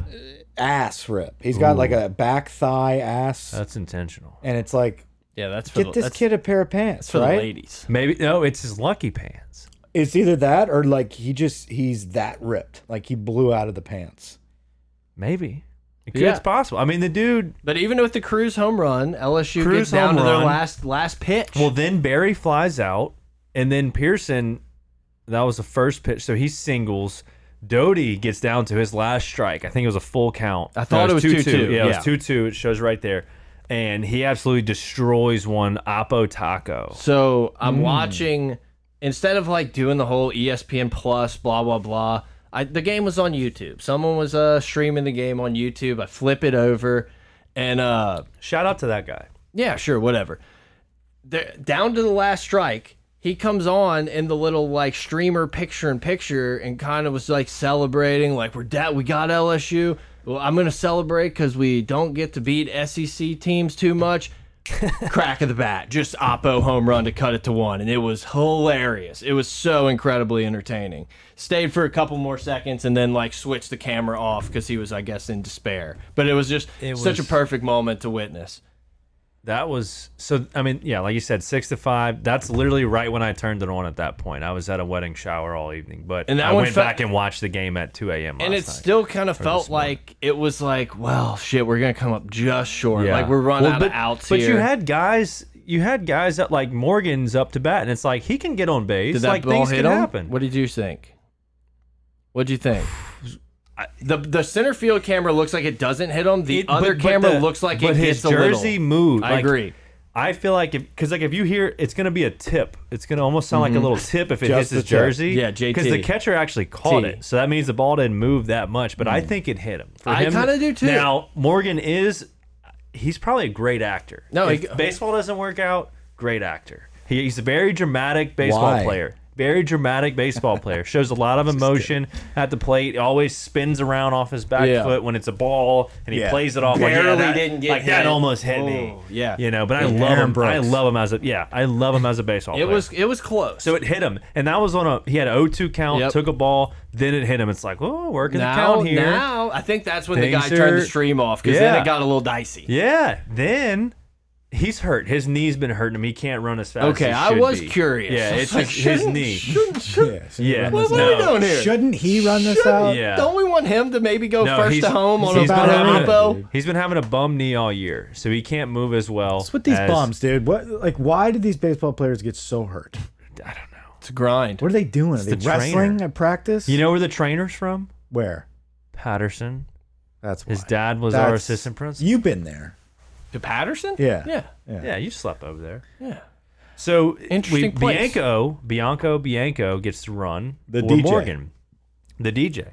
[SPEAKER 2] Ass rip. He's got like a back thigh ass,
[SPEAKER 3] That's intentional.
[SPEAKER 2] and it's like
[SPEAKER 1] yeah, that's for
[SPEAKER 2] get
[SPEAKER 1] the,
[SPEAKER 2] this
[SPEAKER 1] that's,
[SPEAKER 2] kid a pair of pants,
[SPEAKER 1] for the
[SPEAKER 2] right?
[SPEAKER 1] ladies.
[SPEAKER 3] Maybe no, it's his lucky pants.
[SPEAKER 2] It's either that or like he just he's that ripped, like he blew out of the pants.
[SPEAKER 3] Maybe. could- It's possible. I mean, the dude.
[SPEAKER 1] But even with the Cruz home run, LSU
[SPEAKER 3] Cruz
[SPEAKER 1] gets down
[SPEAKER 3] home
[SPEAKER 1] to their
[SPEAKER 3] run.
[SPEAKER 1] last last pitch.
[SPEAKER 3] Well, then Barry flies out, and then Pearson. That was the first pitch, so he singles. Doty gets down to his last strike. I think it was a full count. I
[SPEAKER 1] thought it was 2-2,
[SPEAKER 3] Yeah, it
[SPEAKER 1] yeah.
[SPEAKER 3] was two two. It shows right there, and he absolutely destroys one Oppo Taco.
[SPEAKER 1] So I'm watching instead of like doing the whole E ESPN Plus blah blah blah. I, the game was on YouTube. Someone was uh, streaming the game on YouTube. I flip it over, and uh,
[SPEAKER 3] Shout out to that guy.
[SPEAKER 1] yeah, sure, whatever. There, down to the last strike, he comes on in the little like streamer picture in picture, and kind of was like celebrating, like we're da we got LSU. Well, I'm gonna celebrate because we don't get to beat SEC teams too much. [laughs] Crack of the bat, just Oppo home run to cut it to one, and it was hilarious. It was so incredibly entertaining. Stayed for a couple more seconds and then like switched the camera off because he was, I guess, in despair. But it was just such a
[SPEAKER 3] was-
[SPEAKER 1] perfect moment to witness.
[SPEAKER 3] That was so. I mean, yeah, like you said, six to five. That's literally right when I turned it on. At that point, I was at a wedding shower all evening, but
[SPEAKER 1] And that
[SPEAKER 3] I
[SPEAKER 1] one
[SPEAKER 3] went
[SPEAKER 1] fe-
[SPEAKER 3] back and watched the game at two a.m.
[SPEAKER 1] and
[SPEAKER 3] last
[SPEAKER 1] it
[SPEAKER 3] night.
[SPEAKER 1] still kind of felt like it was like, well, shit, we're gonna come up just short. Like we're running
[SPEAKER 3] Well,
[SPEAKER 1] out
[SPEAKER 3] but,
[SPEAKER 1] of outs
[SPEAKER 3] But
[SPEAKER 1] here.
[SPEAKER 3] you had guys, you had guys that like Morgan's up to bat, and it's like he can get on base.
[SPEAKER 1] did that
[SPEAKER 3] like
[SPEAKER 1] ball
[SPEAKER 3] things
[SPEAKER 1] hit
[SPEAKER 3] can
[SPEAKER 1] him?
[SPEAKER 3] happen.
[SPEAKER 1] What did you think? What would you [sighs] think? the the center field camera looks like it doesn't hit him. The
[SPEAKER 3] It-
[SPEAKER 1] other
[SPEAKER 3] but- but
[SPEAKER 1] camera
[SPEAKER 3] the-
[SPEAKER 1] looks like
[SPEAKER 3] but
[SPEAKER 1] it
[SPEAKER 3] his
[SPEAKER 1] hits a
[SPEAKER 3] jersey
[SPEAKER 1] little.
[SPEAKER 3] moved.
[SPEAKER 1] I
[SPEAKER 3] Like,
[SPEAKER 1] agree.
[SPEAKER 3] I feel like if because like if you hear it's gonna be a tip, it's gonna almost sound like a little tip if it hits
[SPEAKER 2] Just
[SPEAKER 3] his
[SPEAKER 2] the tip.
[SPEAKER 3] jersey.
[SPEAKER 1] Mm-hmm. Yeah,
[SPEAKER 3] Because
[SPEAKER 1] JT.
[SPEAKER 3] the catcher actually caught
[SPEAKER 1] T. Mm.
[SPEAKER 3] it, so that means the ball didn't move that much. But I think it hit him. For
[SPEAKER 1] I
[SPEAKER 3] him-
[SPEAKER 1] kinda do too.
[SPEAKER 3] Now Morgan is, he's probably a great actor.
[SPEAKER 1] No,
[SPEAKER 3] if
[SPEAKER 1] he-
[SPEAKER 3] baseball doesn't work out, great actor. He, he's a very dramatic baseball
[SPEAKER 2] Why?
[SPEAKER 3] player. Very dramatic baseball player. Shows a
[SPEAKER 1] [laughs]
[SPEAKER 3] lot of emotion at the plate. Always spins around off his back
[SPEAKER 1] Yeah.
[SPEAKER 3] foot when it's a ball, and he
[SPEAKER 2] Yeah.
[SPEAKER 3] plays it off
[SPEAKER 1] Barely
[SPEAKER 3] like, yeah, that,
[SPEAKER 1] didn't get
[SPEAKER 3] like that
[SPEAKER 1] hit.
[SPEAKER 3] almost hit me.
[SPEAKER 1] Oh, yeah.
[SPEAKER 3] you know. But I
[SPEAKER 2] Yeah,
[SPEAKER 3] love
[SPEAKER 2] Aaron
[SPEAKER 3] him. I
[SPEAKER 2] Brooks.
[SPEAKER 3] love him as a yeah. I love him as a baseball.
[SPEAKER 1] It
[SPEAKER 3] player.
[SPEAKER 1] was it was close.
[SPEAKER 3] so it hit him, and that was on a he had an 0-2 count,
[SPEAKER 1] Yep.
[SPEAKER 3] took a ball, then it hit him. It's like oh, working the
[SPEAKER 1] now,
[SPEAKER 3] count here.
[SPEAKER 1] now I think that's when the guy
[SPEAKER 3] Things
[SPEAKER 1] turned
[SPEAKER 3] are-
[SPEAKER 1] the stream off because then
[SPEAKER 3] Yeah.
[SPEAKER 1] it got a little dicey.
[SPEAKER 3] Yeah, then. He's hurt. His knee's been hurting him. He can't run as fast.
[SPEAKER 1] Okay,
[SPEAKER 3] as he
[SPEAKER 1] I
[SPEAKER 3] should
[SPEAKER 1] was
[SPEAKER 3] be.
[SPEAKER 1] curious.
[SPEAKER 3] Yeah,
[SPEAKER 1] I was [laughs]
[SPEAKER 3] it's
[SPEAKER 1] like,
[SPEAKER 3] his, his
[SPEAKER 1] shouldn't-
[SPEAKER 3] knee.
[SPEAKER 1] shouldn't- shouldn't-
[SPEAKER 2] Yeah, so
[SPEAKER 3] [laughs] Yeah.
[SPEAKER 2] run this
[SPEAKER 1] what
[SPEAKER 3] No.
[SPEAKER 1] are we doing here?
[SPEAKER 2] Shouldn't he run this out?
[SPEAKER 3] Yeah.
[SPEAKER 1] Don't we want him to maybe go
[SPEAKER 3] No,
[SPEAKER 1] first
[SPEAKER 3] he's-
[SPEAKER 1] to home on a
[SPEAKER 3] he's
[SPEAKER 2] been
[SPEAKER 1] bad
[SPEAKER 2] having
[SPEAKER 3] having a-
[SPEAKER 1] repo?
[SPEAKER 3] He's been having a bum knee all year, so he can't move as well.
[SPEAKER 2] What's with these
[SPEAKER 3] as-
[SPEAKER 2] bums, dude? What like why do these baseball players get so hurt?
[SPEAKER 3] I don't know.
[SPEAKER 1] It's a grind.
[SPEAKER 2] What are they doing? Are
[SPEAKER 3] the
[SPEAKER 2] they wrestling
[SPEAKER 3] trainer.
[SPEAKER 2] at practice?
[SPEAKER 3] You know where the trainer's from?
[SPEAKER 2] where?
[SPEAKER 3] Patterson.
[SPEAKER 2] That's why.
[SPEAKER 3] His dad was our
[SPEAKER 2] That's-
[SPEAKER 3] assistant principal.
[SPEAKER 2] You've been there.
[SPEAKER 1] To Patterson?
[SPEAKER 2] Yeah.
[SPEAKER 1] Yeah.
[SPEAKER 2] Yeah.
[SPEAKER 3] yeah, you slept over there.
[SPEAKER 1] Yeah.
[SPEAKER 3] So
[SPEAKER 1] Interesting
[SPEAKER 3] we,
[SPEAKER 1] place.
[SPEAKER 3] Bianco, Bianco, Bianco gets to run
[SPEAKER 2] The
[SPEAKER 3] for
[SPEAKER 2] DJ.
[SPEAKER 3] Morgan, the DJ,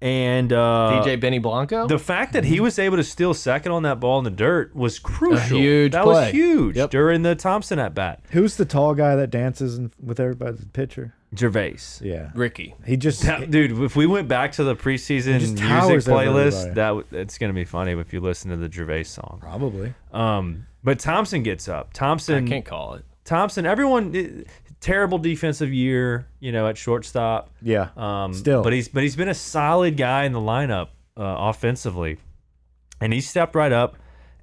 [SPEAKER 3] and uh,
[SPEAKER 1] DJ Benny Blanco?
[SPEAKER 3] The fact that he was able to steal second on that ball in the dirt was crucial.
[SPEAKER 1] huge
[SPEAKER 3] that
[SPEAKER 1] play.
[SPEAKER 3] was huge
[SPEAKER 1] Yep.
[SPEAKER 3] during the Thompson at bat.
[SPEAKER 2] Who's the tall guy that dances in, with everybody's pitcher?
[SPEAKER 3] Gervais.
[SPEAKER 2] Yeah.
[SPEAKER 1] Ricky.
[SPEAKER 2] He just
[SPEAKER 3] That- dude, if we went back to the preseason
[SPEAKER 2] just
[SPEAKER 3] music
[SPEAKER 2] towers over
[SPEAKER 3] playlist,
[SPEAKER 2] everybody.
[SPEAKER 3] that w- it's gonna be funny if you listen to the Gervais song.
[SPEAKER 2] probably.
[SPEAKER 3] Um, but Thompson gets up. Thompson,
[SPEAKER 1] I can't call it.
[SPEAKER 3] Thompson, everyone, eh, terrible defensive year, you know, at shortstop.
[SPEAKER 2] Yeah.
[SPEAKER 3] Um,
[SPEAKER 2] Still.
[SPEAKER 3] but he's but he's been a solid guy in the lineup uh, offensively, and he stepped right up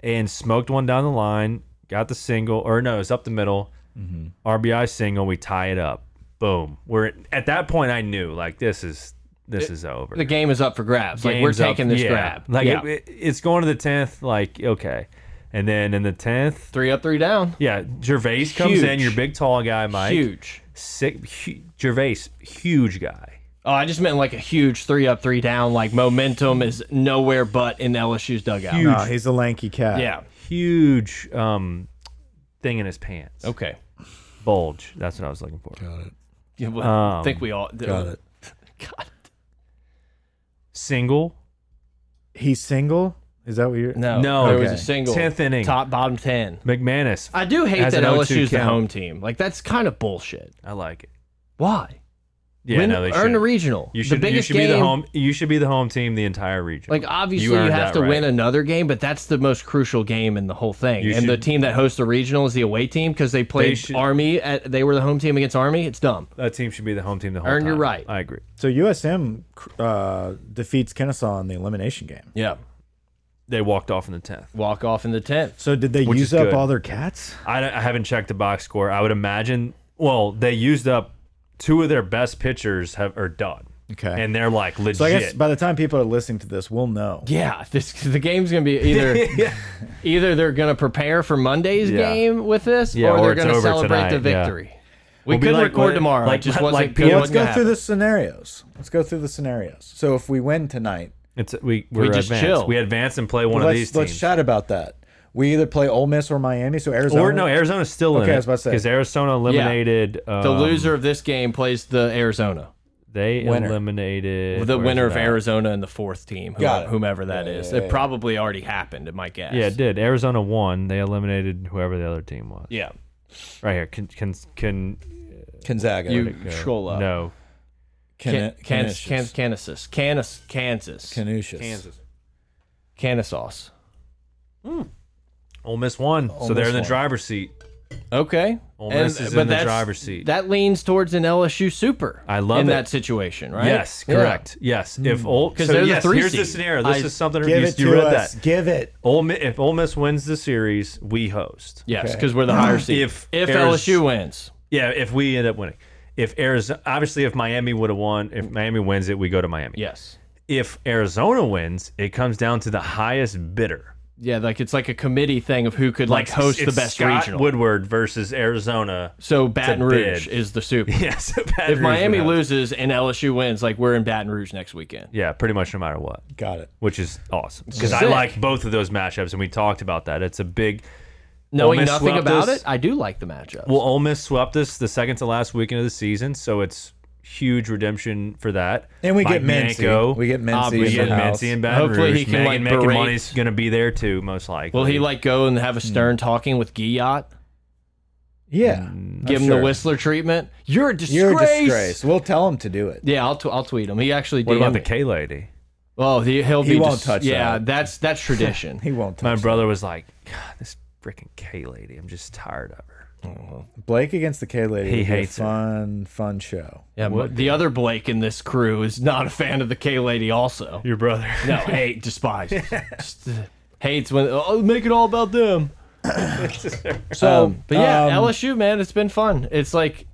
[SPEAKER 3] and smoked one down the line, got the single, or no, it's up the middle,
[SPEAKER 1] Mm-hmm.
[SPEAKER 3] RBI single. We tie it up. Boom. We're at that point. I knew like this is this is over.
[SPEAKER 1] The game is up for grabs. like we're
[SPEAKER 3] Game's up.
[SPEAKER 1] taking this
[SPEAKER 3] Yeah.
[SPEAKER 1] grab.
[SPEAKER 3] Like
[SPEAKER 1] yeah.
[SPEAKER 3] it, it- it's going to the tenth. Like okay, and then in the tenth,
[SPEAKER 1] three up, three down.
[SPEAKER 3] yeah, Gervais comes in.
[SPEAKER 1] Huge.
[SPEAKER 3] Your big tall guy, Mike.
[SPEAKER 1] Huge.
[SPEAKER 3] Sick, hu Gervais, huge guy.
[SPEAKER 1] Oh, I just meant like a huge three up, three down. Like momentum is nowhere but in LSU's dugout.
[SPEAKER 2] No, Uh, he's a lanky cat.
[SPEAKER 1] Yeah.
[SPEAKER 3] huge um thing in his pants.
[SPEAKER 1] Okay.
[SPEAKER 3] Bulge. That's what I was looking for.
[SPEAKER 1] Yeah, well, I
[SPEAKER 3] Um,
[SPEAKER 1] think we all [laughs] got it. God.
[SPEAKER 3] Single.
[SPEAKER 2] He's single? Is that what you're
[SPEAKER 1] No.
[SPEAKER 3] No.
[SPEAKER 1] There was a
[SPEAKER 2] Okay.
[SPEAKER 1] single.
[SPEAKER 3] Tenth inning.
[SPEAKER 1] Top bottom 10.
[SPEAKER 3] McManus.
[SPEAKER 1] I do hate
[SPEAKER 3] Has
[SPEAKER 1] that
[SPEAKER 3] an 0-2
[SPEAKER 1] LSU's the
[SPEAKER 3] count.
[SPEAKER 1] home team. Like that's kind of bullshit.
[SPEAKER 3] I like it.
[SPEAKER 1] Why?
[SPEAKER 3] Yeah,
[SPEAKER 1] Win-
[SPEAKER 3] no, they
[SPEAKER 1] earn
[SPEAKER 3] should.
[SPEAKER 1] a regional.
[SPEAKER 3] You should.
[SPEAKER 1] the biggest
[SPEAKER 3] you should be
[SPEAKER 1] game.
[SPEAKER 3] the home. You should be the home team the entire region.
[SPEAKER 1] Like obviously you,
[SPEAKER 3] earned
[SPEAKER 1] have
[SPEAKER 3] that
[SPEAKER 1] to win
[SPEAKER 3] right.
[SPEAKER 1] another game, but that's the most crucial game in the whole thing.
[SPEAKER 3] You
[SPEAKER 1] and the
[SPEAKER 3] should-
[SPEAKER 1] team that hosts the regional is the away team because they played
[SPEAKER 3] should-
[SPEAKER 1] Army. At, they were the home team against Army. It's dumb.
[SPEAKER 3] that team should be the home team the whole
[SPEAKER 1] Earn
[SPEAKER 3] time.
[SPEAKER 1] your right.
[SPEAKER 3] I agree.
[SPEAKER 2] So USM uh, defeats Kennesaw in the elimination game.
[SPEAKER 1] Yeah.
[SPEAKER 3] They walked off in the tenth.
[SPEAKER 1] Walk off in the tenth.
[SPEAKER 2] So did they
[SPEAKER 3] Which
[SPEAKER 2] use
[SPEAKER 3] is
[SPEAKER 2] up
[SPEAKER 3] good.
[SPEAKER 2] all their cats?
[SPEAKER 3] I, don't- I haven't checked the box score. I would imagine. Well, they used up two of their best pitchers. Have are done.
[SPEAKER 2] Okay.
[SPEAKER 3] and they're like legit.
[SPEAKER 2] so I guess by the time people are listening to this, we'll know.
[SPEAKER 1] Yeah, [laughs] this the game's gonna be
[SPEAKER 3] [laughs]
[SPEAKER 1] either either they're gonna prepare for Monday's
[SPEAKER 3] Yeah.
[SPEAKER 1] game with this,
[SPEAKER 3] Yeah,
[SPEAKER 1] or
[SPEAKER 3] or
[SPEAKER 1] they're
[SPEAKER 3] it's
[SPEAKER 1] gonna
[SPEAKER 3] over
[SPEAKER 1] celebrate the
[SPEAKER 3] tonight, yeah.
[SPEAKER 1] victory. We
[SPEAKER 3] We'll be
[SPEAKER 1] couldn't
[SPEAKER 3] like-
[SPEAKER 1] record
[SPEAKER 3] like-
[SPEAKER 1] tomorrow.
[SPEAKER 3] like-
[SPEAKER 1] it just
[SPEAKER 3] like
[SPEAKER 1] wasn't
[SPEAKER 3] people-
[SPEAKER 1] good.
[SPEAKER 3] Yeah,
[SPEAKER 2] Well, let's
[SPEAKER 3] What's
[SPEAKER 1] Wasn't
[SPEAKER 2] go
[SPEAKER 1] gonna
[SPEAKER 2] through
[SPEAKER 1] happen.
[SPEAKER 2] the scenarios. Let's go through the scenarios. So if we win tonight,
[SPEAKER 3] it's we we're
[SPEAKER 1] just
[SPEAKER 3] advanced.
[SPEAKER 1] chill.
[SPEAKER 3] We advance and play one of these
[SPEAKER 2] let's let's
[SPEAKER 3] teams.
[SPEAKER 2] chat about that. We either play Ole Miss or Miami. So Arizona.
[SPEAKER 3] or no, Arizona's still in
[SPEAKER 2] Okay,
[SPEAKER 3] it
[SPEAKER 2] I was about to say.
[SPEAKER 3] because Arizona eliminated
[SPEAKER 1] The
[SPEAKER 3] um,
[SPEAKER 1] loser of this game plays the Arizona,
[SPEAKER 3] They
[SPEAKER 2] Winner.
[SPEAKER 3] eliminated
[SPEAKER 1] the
[SPEAKER 3] where is
[SPEAKER 1] winner
[SPEAKER 3] it
[SPEAKER 1] of
[SPEAKER 3] at?
[SPEAKER 1] Arizona and the fourth team, whomever,
[SPEAKER 2] Got it.
[SPEAKER 1] whomever that is.
[SPEAKER 2] yeah,
[SPEAKER 1] It probably already happened, in my guess.
[SPEAKER 3] Yeah, it did. Arizona won. They eliminated whoever the other team was.
[SPEAKER 1] yeah.
[SPEAKER 3] Right here. Can can can
[SPEAKER 2] Gonzaga.
[SPEAKER 1] You
[SPEAKER 3] [laughs]
[SPEAKER 1] scroll up.
[SPEAKER 3] no.
[SPEAKER 1] Can,
[SPEAKER 2] Can,
[SPEAKER 1] Kansas,
[SPEAKER 2] Canisius.
[SPEAKER 1] Kansas, Kansas, Kansas, Kansas,
[SPEAKER 2] Canisius.
[SPEAKER 1] Kansas.
[SPEAKER 3] Ole Miss won. so they're
[SPEAKER 2] Miss
[SPEAKER 3] in the
[SPEAKER 2] won.
[SPEAKER 3] driver's seat.
[SPEAKER 1] Okay,
[SPEAKER 3] Ole Miss is in the
[SPEAKER 1] that's-
[SPEAKER 3] driver's seat.
[SPEAKER 1] That leans towards an LSU super.
[SPEAKER 3] I love
[SPEAKER 1] in
[SPEAKER 3] it.
[SPEAKER 1] that situation, right?
[SPEAKER 3] Yes,
[SPEAKER 1] Yeah.
[SPEAKER 3] correct. Yes, if Ole because
[SPEAKER 1] they're the
[SPEAKER 3] yes,
[SPEAKER 1] three
[SPEAKER 3] Here's the
[SPEAKER 1] seed.
[SPEAKER 3] scenario. This
[SPEAKER 1] I-
[SPEAKER 3] is something
[SPEAKER 2] Hmm. Give
[SPEAKER 3] you,
[SPEAKER 2] it
[SPEAKER 3] you
[SPEAKER 2] to
[SPEAKER 3] read
[SPEAKER 2] us.
[SPEAKER 3] that.
[SPEAKER 2] Give it.
[SPEAKER 3] Ole Miss, if Ole Miss wins the series, we host.
[SPEAKER 1] Yes, because we're the higher seed.
[SPEAKER 3] If
[SPEAKER 1] if
[SPEAKER 3] Ariz-
[SPEAKER 1] LSU wins,
[SPEAKER 3] Yeah, if we end up winning. If Arizona, obviously, if Miami would have won, if Miami wins it, we go to Miami.
[SPEAKER 1] yes,
[SPEAKER 3] If Arizona wins, it comes down to the highest bidder.
[SPEAKER 1] yeah, like it's like a committee thing of who could like, host the
[SPEAKER 3] it's
[SPEAKER 1] best
[SPEAKER 3] Scott
[SPEAKER 1] regional.
[SPEAKER 3] Woodward versus Arizona. [laughs]
[SPEAKER 1] so Baton
[SPEAKER 3] a bid.
[SPEAKER 1] Rouge is the super.
[SPEAKER 3] Yes.
[SPEAKER 1] If Miami loses and LSU wins, like we're in Baton Rouge next weekend.
[SPEAKER 3] yeah, pretty much no matter what.
[SPEAKER 2] Got it.
[SPEAKER 3] which is awesome because I
[SPEAKER 1] Sick.
[SPEAKER 3] like both of those matchups, and we talked about that. It's a big.
[SPEAKER 1] Knowing
[SPEAKER 3] Miss
[SPEAKER 1] nothing
[SPEAKER 3] swept
[SPEAKER 1] about
[SPEAKER 3] us.
[SPEAKER 1] it, I do like the matchup.
[SPEAKER 3] Well, Ole Miss swept us the second to last weekend of the season, so it's huge redemption for that.
[SPEAKER 2] And we
[SPEAKER 3] Mike
[SPEAKER 2] get Mincy.
[SPEAKER 3] Bianco.
[SPEAKER 2] We get Mincy.
[SPEAKER 3] we
[SPEAKER 2] in
[SPEAKER 3] get
[SPEAKER 2] the house.
[SPEAKER 3] Mincy and Baton
[SPEAKER 1] Hopefully
[SPEAKER 3] Rouge.
[SPEAKER 1] he can,
[SPEAKER 3] Megan
[SPEAKER 1] like,
[SPEAKER 3] Making
[SPEAKER 1] berate-
[SPEAKER 3] Money's going to be there too, most likely.
[SPEAKER 1] Will he like go and have a stern talking with Guyot?
[SPEAKER 2] Yeah.
[SPEAKER 3] Mm.
[SPEAKER 1] Give
[SPEAKER 2] I'm
[SPEAKER 1] him
[SPEAKER 2] sure.
[SPEAKER 1] the Whistler treatment. You're a disgrace.
[SPEAKER 2] You're a disgrace. We'll tell him to do it.
[SPEAKER 1] Yeah, I'll, t- I'll tweet him. He actually
[SPEAKER 3] What
[SPEAKER 1] did.
[SPEAKER 3] about the K lady?
[SPEAKER 1] Oh, he, he'll
[SPEAKER 2] He
[SPEAKER 1] be
[SPEAKER 2] won't
[SPEAKER 1] just-
[SPEAKER 2] touch
[SPEAKER 1] Yeah,
[SPEAKER 2] that.
[SPEAKER 1] that's that's
[SPEAKER 2] [laughs]
[SPEAKER 1] tradition.
[SPEAKER 2] He won't
[SPEAKER 3] My
[SPEAKER 2] touch
[SPEAKER 3] brother was like, God, this freaking K lady. I'm just tired of her.
[SPEAKER 2] it. Blake against the K lady.
[SPEAKER 3] He
[SPEAKER 2] would be a
[SPEAKER 3] hates it.
[SPEAKER 2] Fun, fun show.
[SPEAKER 1] yeah, but the other Blake in this crew is not a fan of the K lady. Also,
[SPEAKER 3] Your [laughs] brother.
[SPEAKER 1] no, hate, despise, Just, uh, hates when oh, make it all about them.
[SPEAKER 2] So,
[SPEAKER 1] But yeah,
[SPEAKER 2] um,
[SPEAKER 1] LSU man, it's been fun. It's like.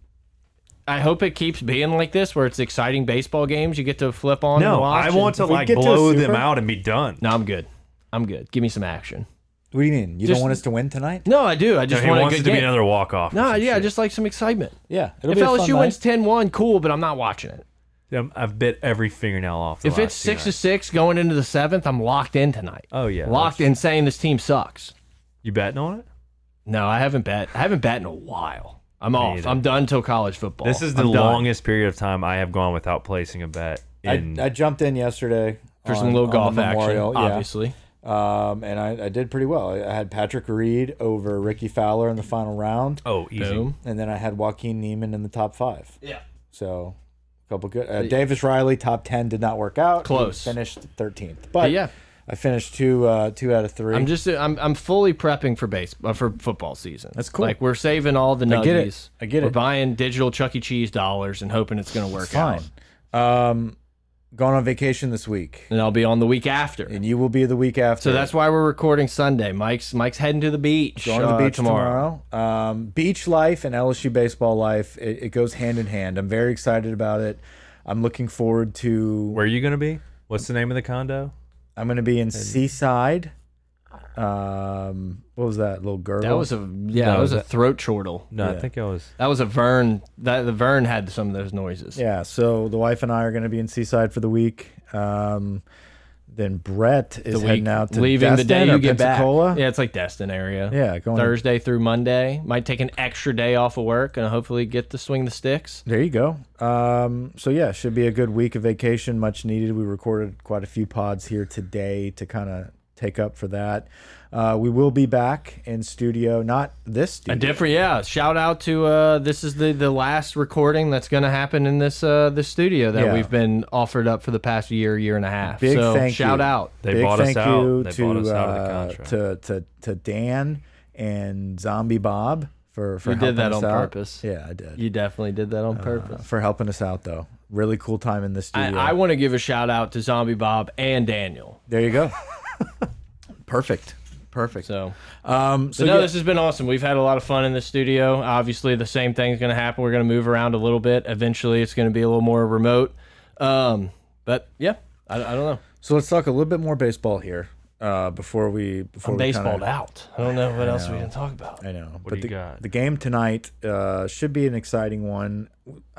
[SPEAKER 1] I hope it keeps being like this, where it's exciting baseball games you get to flip on. and
[SPEAKER 3] No,
[SPEAKER 1] watch
[SPEAKER 3] I
[SPEAKER 1] and-
[SPEAKER 3] want to
[SPEAKER 2] we
[SPEAKER 3] like
[SPEAKER 2] get to a
[SPEAKER 3] blow them
[SPEAKER 2] super-
[SPEAKER 3] out and be done.
[SPEAKER 1] No, I'm good. I'm good. Give me some action.
[SPEAKER 2] what do you mean? You
[SPEAKER 1] Just-
[SPEAKER 2] don't want us to win tonight?
[SPEAKER 1] No, I do. I just
[SPEAKER 3] he
[SPEAKER 1] want a
[SPEAKER 3] wants it
[SPEAKER 1] good
[SPEAKER 3] to be
[SPEAKER 1] game.
[SPEAKER 3] another walk off.
[SPEAKER 1] no, yeah, I just like some excitement.
[SPEAKER 2] Yeah. It'll
[SPEAKER 1] If
[SPEAKER 2] be a fun
[SPEAKER 1] LSU
[SPEAKER 2] night.
[SPEAKER 1] wins 10-1, cool, but I'm not watching it.
[SPEAKER 3] Um, I've bit every fingernail off. The
[SPEAKER 1] If it's
[SPEAKER 3] last two
[SPEAKER 1] six to
[SPEAKER 3] nights.
[SPEAKER 1] six going into the seventh, I'm locked in tonight.
[SPEAKER 3] Oh, yeah,
[SPEAKER 1] locked in saying this team sucks.
[SPEAKER 3] you betting on it?
[SPEAKER 1] No, I haven't bet. I haven't bet in a while. I'm off.
[SPEAKER 3] either.
[SPEAKER 1] I'm done till college football.
[SPEAKER 3] This is the
[SPEAKER 1] I'm done.
[SPEAKER 3] longest period of time I have gone without placing a bet.
[SPEAKER 2] I,
[SPEAKER 3] In,
[SPEAKER 2] I jumped in yesterday
[SPEAKER 1] for some
[SPEAKER 2] on-
[SPEAKER 1] little
[SPEAKER 2] on
[SPEAKER 1] golf
[SPEAKER 2] the
[SPEAKER 1] action,
[SPEAKER 2] Memorial, yeah.
[SPEAKER 1] obviously.
[SPEAKER 2] Um, and I, I did pretty well. I I had Patrick Reed over Ricky Fowler in the final round,
[SPEAKER 3] oh, easy.
[SPEAKER 1] Boom.
[SPEAKER 2] and then I had Joaquin Neiman in the top five.
[SPEAKER 1] Yeah.
[SPEAKER 2] So, a couple good. Uh, Davis Riley top ten did not work out. He
[SPEAKER 1] Close.
[SPEAKER 2] finished thirteenth, but
[SPEAKER 1] yeah.
[SPEAKER 2] I finished two uh, two out of 3
[SPEAKER 1] I'm just I'm I'm fully prepping for base uh, for football season.
[SPEAKER 2] That's cool.
[SPEAKER 1] Like we're saving all the nuggies.
[SPEAKER 2] get it. I get
[SPEAKER 1] We're
[SPEAKER 2] it.
[SPEAKER 1] buying digital Chuck E. Cheese dollars and hoping it's gonna work
[SPEAKER 2] fine.
[SPEAKER 1] out.
[SPEAKER 2] Um, gone on vacation this week,
[SPEAKER 1] And I'll be on the week after.
[SPEAKER 2] and you will be the week after.
[SPEAKER 1] So that's why we're recording Sunday. Mike's Mike's heading to the beach.
[SPEAKER 2] Going to the
[SPEAKER 1] uh,
[SPEAKER 2] beach tomorrow. Um, beach life and LSU baseball life, it, it goes hand in hand. I'm very excited about it. I'm looking forward to.
[SPEAKER 3] Where are you gonna be? What's the name of the condo?
[SPEAKER 2] I'm going to be in Seaside. Um, what was that little girl?
[SPEAKER 1] That was a yeah. that was a throat chortle.
[SPEAKER 3] No, I think I was.
[SPEAKER 1] That was a Vern. That the Vern had some of those noises.
[SPEAKER 2] yeah. So the wife and I are going to be in Seaside for the week. Um, then Brett is
[SPEAKER 1] The
[SPEAKER 2] heading
[SPEAKER 1] week-
[SPEAKER 2] out to
[SPEAKER 1] leaving the
[SPEAKER 2] Destin
[SPEAKER 1] day
[SPEAKER 2] or
[SPEAKER 1] you get
[SPEAKER 2] Pensacola.
[SPEAKER 1] back. Yeah, it's like Destin area.
[SPEAKER 2] Yeah, going-
[SPEAKER 1] Thursday through Monday. Might take an extra day off of work and hopefully get to swing the sticks.
[SPEAKER 2] There you go. Um, so yeah, should be a good week of vacation, much needed. We recorded quite a few pods here today to kind of take up for that. Uh, we will be back in studio, not this
[SPEAKER 1] A
[SPEAKER 2] studio.
[SPEAKER 1] different, yeah. Shout out to uh, this is the the last recording that's going to happen in this uh, this studio that
[SPEAKER 2] Yeah.
[SPEAKER 1] we've been offered up for the past year, year and a half.
[SPEAKER 2] Big
[SPEAKER 1] so
[SPEAKER 2] thank
[SPEAKER 1] shout
[SPEAKER 2] you.
[SPEAKER 1] out.
[SPEAKER 3] They
[SPEAKER 2] Big
[SPEAKER 3] bought us
[SPEAKER 2] thank
[SPEAKER 3] out.
[SPEAKER 2] you
[SPEAKER 3] They
[SPEAKER 2] to,
[SPEAKER 3] bought us out of the
[SPEAKER 2] uh,
[SPEAKER 3] contract.
[SPEAKER 2] to to to Dan and Zombie Bob for for
[SPEAKER 1] You did
[SPEAKER 2] helping
[SPEAKER 1] that
[SPEAKER 2] us
[SPEAKER 1] on
[SPEAKER 2] out.
[SPEAKER 1] purpose.
[SPEAKER 2] Yeah, I did
[SPEAKER 1] You definitely did that on purpose.
[SPEAKER 2] for helping us out though. Really cool time in Uh, the uh,
[SPEAKER 1] I,
[SPEAKER 2] studio.
[SPEAKER 1] I want to give a shout out to Zombie Bob and Daniel.
[SPEAKER 2] there you
[SPEAKER 3] [laughs]
[SPEAKER 2] go. Perfect. Perfect.
[SPEAKER 1] So,
[SPEAKER 2] Um, so
[SPEAKER 1] but no,
[SPEAKER 2] yeah,
[SPEAKER 1] this has been awesome. We've had a lot of fun in the studio. Obviously, the same thing's going to happen. We're going to move around a little bit. Eventually, it's going to be a little more remote. Um, but yeah, I, I don't know.
[SPEAKER 2] So let's talk a little bit more baseball here uh, before we before we kinda-
[SPEAKER 1] Baseballed out. I don't know what else we can talk about.
[SPEAKER 2] I know, but
[SPEAKER 3] you
[SPEAKER 2] the,
[SPEAKER 3] got?
[SPEAKER 2] the game tonight uh, should be an exciting one.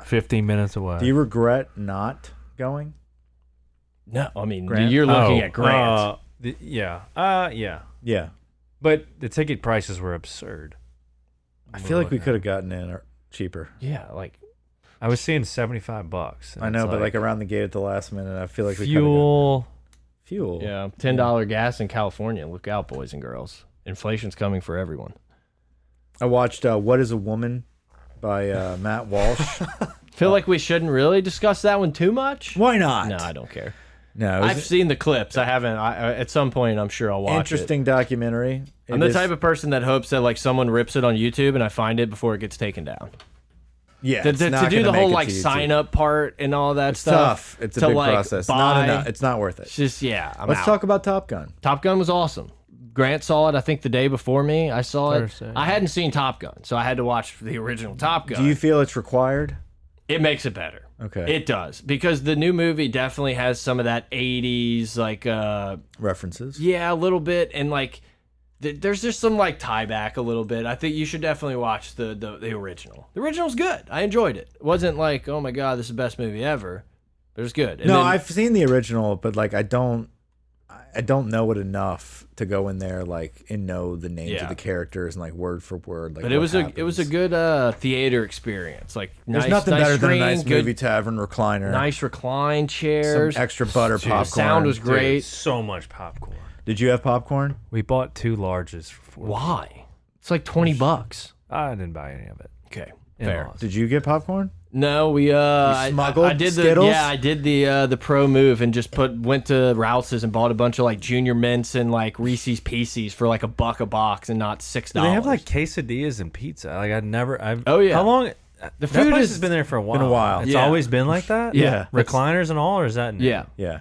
[SPEAKER 3] Fifteen minutes away.
[SPEAKER 2] Do
[SPEAKER 1] Uh,
[SPEAKER 2] you regret not going?
[SPEAKER 1] No, I mean
[SPEAKER 2] Grant?
[SPEAKER 1] you're looking
[SPEAKER 3] Oh,
[SPEAKER 1] at Grant.
[SPEAKER 3] uh, the- yeah. Uh, yeah.
[SPEAKER 2] Yeah,
[SPEAKER 3] But the ticket prices were absurd.
[SPEAKER 2] I feel like we could have gotten in or cheaper.
[SPEAKER 1] yeah, like
[SPEAKER 3] I was seeing seventy five bucks. and
[SPEAKER 2] I
[SPEAKER 3] it's
[SPEAKER 2] know, but like around the gate at the last minute, I feel like we coulda gotten-
[SPEAKER 3] fuel.
[SPEAKER 2] fuel.
[SPEAKER 1] yeah, ten dollar gas in California. Look out, boys and girls. Inflation's coming for everyone.
[SPEAKER 2] I watched uh, "What Is a Woman" by
[SPEAKER 1] [laughs]
[SPEAKER 2] uh, Matt Walsh. Uh,
[SPEAKER 1] Feel like we shouldn't really discuss that one too much.
[SPEAKER 2] Why not?
[SPEAKER 1] No, I don't care.
[SPEAKER 2] No, it was
[SPEAKER 1] I've seen the clips. I haven't. I, I- at some point, I'm sure I'll watch
[SPEAKER 2] an
[SPEAKER 1] it.
[SPEAKER 2] interesting documentary.
[SPEAKER 1] I'm the type of person that hopes that like someone rips it on YouTube and I find it before it gets taken down.
[SPEAKER 2] yeah,
[SPEAKER 1] To,
[SPEAKER 2] it's
[SPEAKER 1] to- to
[SPEAKER 2] not
[SPEAKER 1] do
[SPEAKER 2] gonna
[SPEAKER 1] the
[SPEAKER 2] make
[SPEAKER 1] whole
[SPEAKER 2] it
[SPEAKER 1] like
[SPEAKER 2] to YouTube.
[SPEAKER 1] sign up part and all that
[SPEAKER 2] It's
[SPEAKER 1] stuff.
[SPEAKER 2] tough. It's a
[SPEAKER 1] to,
[SPEAKER 2] big
[SPEAKER 1] like,
[SPEAKER 2] process.
[SPEAKER 1] Buy,
[SPEAKER 2] Not enough. It's not worth
[SPEAKER 1] It's
[SPEAKER 2] it.
[SPEAKER 1] just yeah. I'm
[SPEAKER 2] Let's
[SPEAKER 1] out.
[SPEAKER 2] talk about Top Gun.
[SPEAKER 1] Top Gun was awesome. Grant saw it. I think the day before me. I saw it. I hadn't seen Top Gun, so I had to watch the original Top Gun.
[SPEAKER 2] Do you feel it's required?
[SPEAKER 1] it makes it better.
[SPEAKER 2] Okay.
[SPEAKER 1] It does because the new movie definitely has some of that '80s like uh
[SPEAKER 2] References.
[SPEAKER 1] Yeah, a little bit, and like th there's just some like tie back a little bit. I think you should definitely watch the the, the original. The original's good. I enjoyed it. It wasn't like oh my god, this is the best movie ever, but it was good. And
[SPEAKER 2] No,
[SPEAKER 1] then-
[SPEAKER 2] I've seen the original, but like I don't, I I don't know it enough to go in there like and know the names
[SPEAKER 1] Yeah.
[SPEAKER 2] of the characters and like word for word. Like,
[SPEAKER 1] But it
[SPEAKER 2] what
[SPEAKER 1] was a it was a
[SPEAKER 2] happens.
[SPEAKER 1] good uh theater experience. Like
[SPEAKER 2] There's
[SPEAKER 1] nice,
[SPEAKER 2] nothing
[SPEAKER 1] nice
[SPEAKER 2] better
[SPEAKER 1] screen,
[SPEAKER 2] than a nice
[SPEAKER 1] good,
[SPEAKER 2] movie tavern recliner.
[SPEAKER 1] nice recline
[SPEAKER 2] Some
[SPEAKER 1] chairs.
[SPEAKER 2] extra butter popcorn.
[SPEAKER 1] sound was
[SPEAKER 3] Dude,
[SPEAKER 1] great.
[SPEAKER 3] so much popcorn.
[SPEAKER 2] Did you have popcorn?
[SPEAKER 3] We bought two larges for four.
[SPEAKER 1] Why? It's like twenty bucks.
[SPEAKER 3] I didn't buy any of it.
[SPEAKER 1] Okay,
[SPEAKER 3] In
[SPEAKER 1] fair.
[SPEAKER 3] laws.
[SPEAKER 2] Did you get popcorn?
[SPEAKER 1] No, we uh, I- I-
[SPEAKER 2] smuggled
[SPEAKER 1] I, did the
[SPEAKER 2] Skittles?
[SPEAKER 1] yeah, I did the uh, the pro move and just put went to Rouse's and bought a bunch of like junior mints and like Reese's Pieces for like a buck a box and not six
[SPEAKER 3] Do
[SPEAKER 1] dollars.
[SPEAKER 3] they have like quesadillas and pizza? Like I've never. I've,
[SPEAKER 1] Oh, yeah.
[SPEAKER 3] How long? The
[SPEAKER 1] food
[SPEAKER 3] place
[SPEAKER 1] is-
[SPEAKER 3] has been there for a while.
[SPEAKER 2] a while.
[SPEAKER 3] It's
[SPEAKER 1] Yeah.
[SPEAKER 3] always been like that.
[SPEAKER 1] Yeah.
[SPEAKER 3] recliners and all, or is that new?
[SPEAKER 1] yeah,
[SPEAKER 2] Yeah.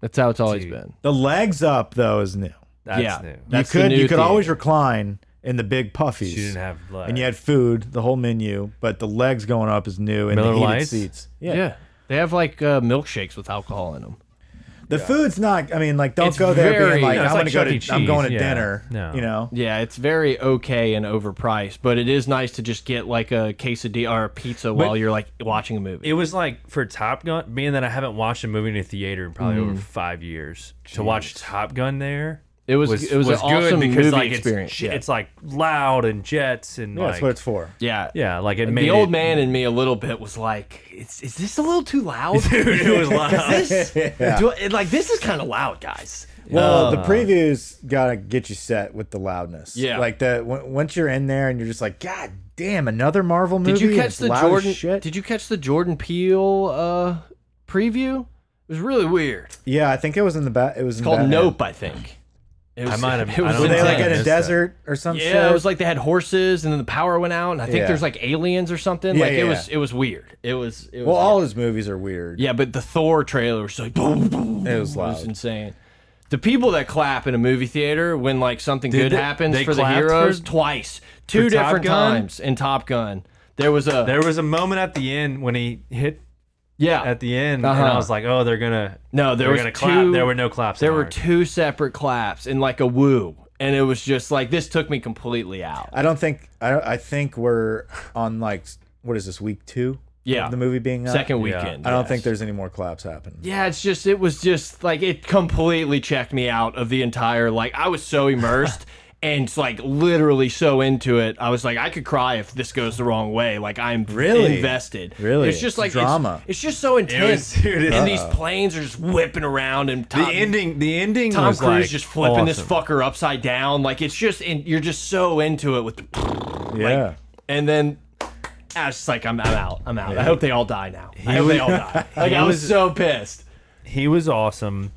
[SPEAKER 1] that's how it's always
[SPEAKER 3] Dude.
[SPEAKER 1] been.
[SPEAKER 2] The legs up though is new.
[SPEAKER 3] that's
[SPEAKER 1] yeah,
[SPEAKER 3] new.
[SPEAKER 2] You
[SPEAKER 1] That's the
[SPEAKER 2] could
[SPEAKER 1] new
[SPEAKER 2] you could
[SPEAKER 1] theater.
[SPEAKER 2] always recline in the big puffies.
[SPEAKER 3] She didn't have legs.
[SPEAKER 2] and you had food, the whole menu, but the legs going up is new and
[SPEAKER 3] Miller
[SPEAKER 2] the heated
[SPEAKER 3] Lights?
[SPEAKER 2] seats.
[SPEAKER 1] Yeah. they have like uh, milkshakes with alcohol in them.
[SPEAKER 2] The food's not I mean like don't
[SPEAKER 1] It's
[SPEAKER 2] go there
[SPEAKER 1] very-
[SPEAKER 2] being like
[SPEAKER 1] No,
[SPEAKER 3] it's
[SPEAKER 2] I'm gonna
[SPEAKER 3] like Chuck
[SPEAKER 2] go
[SPEAKER 3] E.
[SPEAKER 2] to I'm going to
[SPEAKER 3] Cheese, yeah.
[SPEAKER 2] dinner.
[SPEAKER 3] No.
[SPEAKER 2] You know?
[SPEAKER 1] Yeah, it's very okay and overpriced, but it is nice to just get like a quesadilla or a pizza while you're like watching a movie.
[SPEAKER 3] it was like for Top Gun, being that I haven't watched a movie in a theater in probably over five years, to watch Top Gun there.
[SPEAKER 1] Mm. It was- it was an awesome movie
[SPEAKER 3] like it's
[SPEAKER 1] experience,
[SPEAKER 3] j-
[SPEAKER 1] yeah.
[SPEAKER 3] It's, like loud and jets and
[SPEAKER 2] Yeah,
[SPEAKER 3] like,
[SPEAKER 2] that's what it's for.
[SPEAKER 1] yeah,
[SPEAKER 3] yeah, like it made
[SPEAKER 1] The old
[SPEAKER 3] it,
[SPEAKER 1] man [laughs] in me a little bit was like, "Is is this a little too loud?"
[SPEAKER 3] [laughs] Dude, [laughs] it was loud.
[SPEAKER 1] this
[SPEAKER 2] [laughs]
[SPEAKER 1] do I- like this is kind of loud, guys.
[SPEAKER 2] Well,
[SPEAKER 3] Uh,
[SPEAKER 2] the previews gotta get you set with the loudness.
[SPEAKER 1] Yeah.
[SPEAKER 2] like the w once you're in there and you're just like, God damn, another Marvel movie.
[SPEAKER 1] Did you catch
[SPEAKER 2] It's
[SPEAKER 1] the
[SPEAKER 2] loud as
[SPEAKER 1] Jordan?
[SPEAKER 2] Shit.
[SPEAKER 1] Did you catch the Jordan Peele uh, preview? It was really weird. It's
[SPEAKER 2] yeah, I think it was in the bat. It was in
[SPEAKER 1] called
[SPEAKER 2] Batman.
[SPEAKER 1] Nope, I think. It was,
[SPEAKER 3] I might
[SPEAKER 1] [laughs]
[SPEAKER 3] have-
[SPEAKER 1] It
[SPEAKER 3] I
[SPEAKER 1] was
[SPEAKER 3] don't
[SPEAKER 2] Were they
[SPEAKER 1] intense.
[SPEAKER 2] like in
[SPEAKER 3] I
[SPEAKER 2] a
[SPEAKER 3] missed that.
[SPEAKER 2] desert or some shit?
[SPEAKER 1] yeah, it was like they had horses, and then the power went out, and I think
[SPEAKER 2] Yeah.
[SPEAKER 1] there's like aliens or something.
[SPEAKER 2] Yeah,
[SPEAKER 1] like
[SPEAKER 2] yeah,
[SPEAKER 1] it was,
[SPEAKER 2] yeah.
[SPEAKER 1] it was weird. It was, it was
[SPEAKER 2] Well, all
[SPEAKER 1] weird.
[SPEAKER 2] his movies are weird.
[SPEAKER 1] yeah, but the Thor trailer was like, [laughs] boom, boom,
[SPEAKER 2] It was
[SPEAKER 1] boom.
[SPEAKER 2] loud.
[SPEAKER 1] insane. The people that clap in a movie theater when like something
[SPEAKER 3] Did
[SPEAKER 1] good
[SPEAKER 3] they-
[SPEAKER 1] happens
[SPEAKER 3] they
[SPEAKER 1] for the
[SPEAKER 3] clapped
[SPEAKER 1] heroes
[SPEAKER 3] for-
[SPEAKER 1] twice, two
[SPEAKER 3] Top
[SPEAKER 1] different
[SPEAKER 3] Gun?
[SPEAKER 1] times in Top Gun. There was a
[SPEAKER 3] There was a moment at the end when he hit
[SPEAKER 1] yeah
[SPEAKER 3] at the end, and
[SPEAKER 1] Uh-huh.
[SPEAKER 3] I was like, oh, they're gonna
[SPEAKER 1] No, there
[SPEAKER 3] they're
[SPEAKER 1] was
[SPEAKER 3] gonna
[SPEAKER 1] two-
[SPEAKER 3] clap. There were no claps.
[SPEAKER 1] There
[SPEAKER 3] in
[SPEAKER 1] were
[SPEAKER 3] ours.
[SPEAKER 1] two separate claps and like a woo. And it was just like this took me completely out.
[SPEAKER 2] I don't think I. I think we're on like what is this week two?
[SPEAKER 1] Yeah.
[SPEAKER 2] of the movie being up?
[SPEAKER 1] Second weekend.
[SPEAKER 2] I don't
[SPEAKER 1] yes.
[SPEAKER 2] think there's any more claps happening.
[SPEAKER 1] Yeah, it's just it was just like it completely checked me out of the entire like I was so
[SPEAKER 2] [laughs]
[SPEAKER 1] immersed and it's, like literally so into it. I was like I could cry if this goes the wrong way. Like I'm
[SPEAKER 2] Really?
[SPEAKER 1] invested.
[SPEAKER 2] Really?
[SPEAKER 1] It's just
[SPEAKER 2] It's
[SPEAKER 1] like it's-
[SPEAKER 2] drama.
[SPEAKER 1] It's, just so intense.
[SPEAKER 3] [laughs] dude, it-
[SPEAKER 1] and these planes are just whipping around and
[SPEAKER 3] the
[SPEAKER 1] Tom,
[SPEAKER 3] ending. The ending.
[SPEAKER 1] Tom
[SPEAKER 3] was
[SPEAKER 1] Cruise
[SPEAKER 3] like
[SPEAKER 1] just flipping this
[SPEAKER 3] awesome.
[SPEAKER 1] fucker upside down. Like it's just and you're just so into it with the
[SPEAKER 2] yeah.
[SPEAKER 1] And then I was just like, I'm, I'm out. I'm out. I hope they all die now. I hope they all
[SPEAKER 2] [laughs]
[SPEAKER 1] die. Like, I was
[SPEAKER 3] was-
[SPEAKER 1] so pissed.
[SPEAKER 3] he was awesome.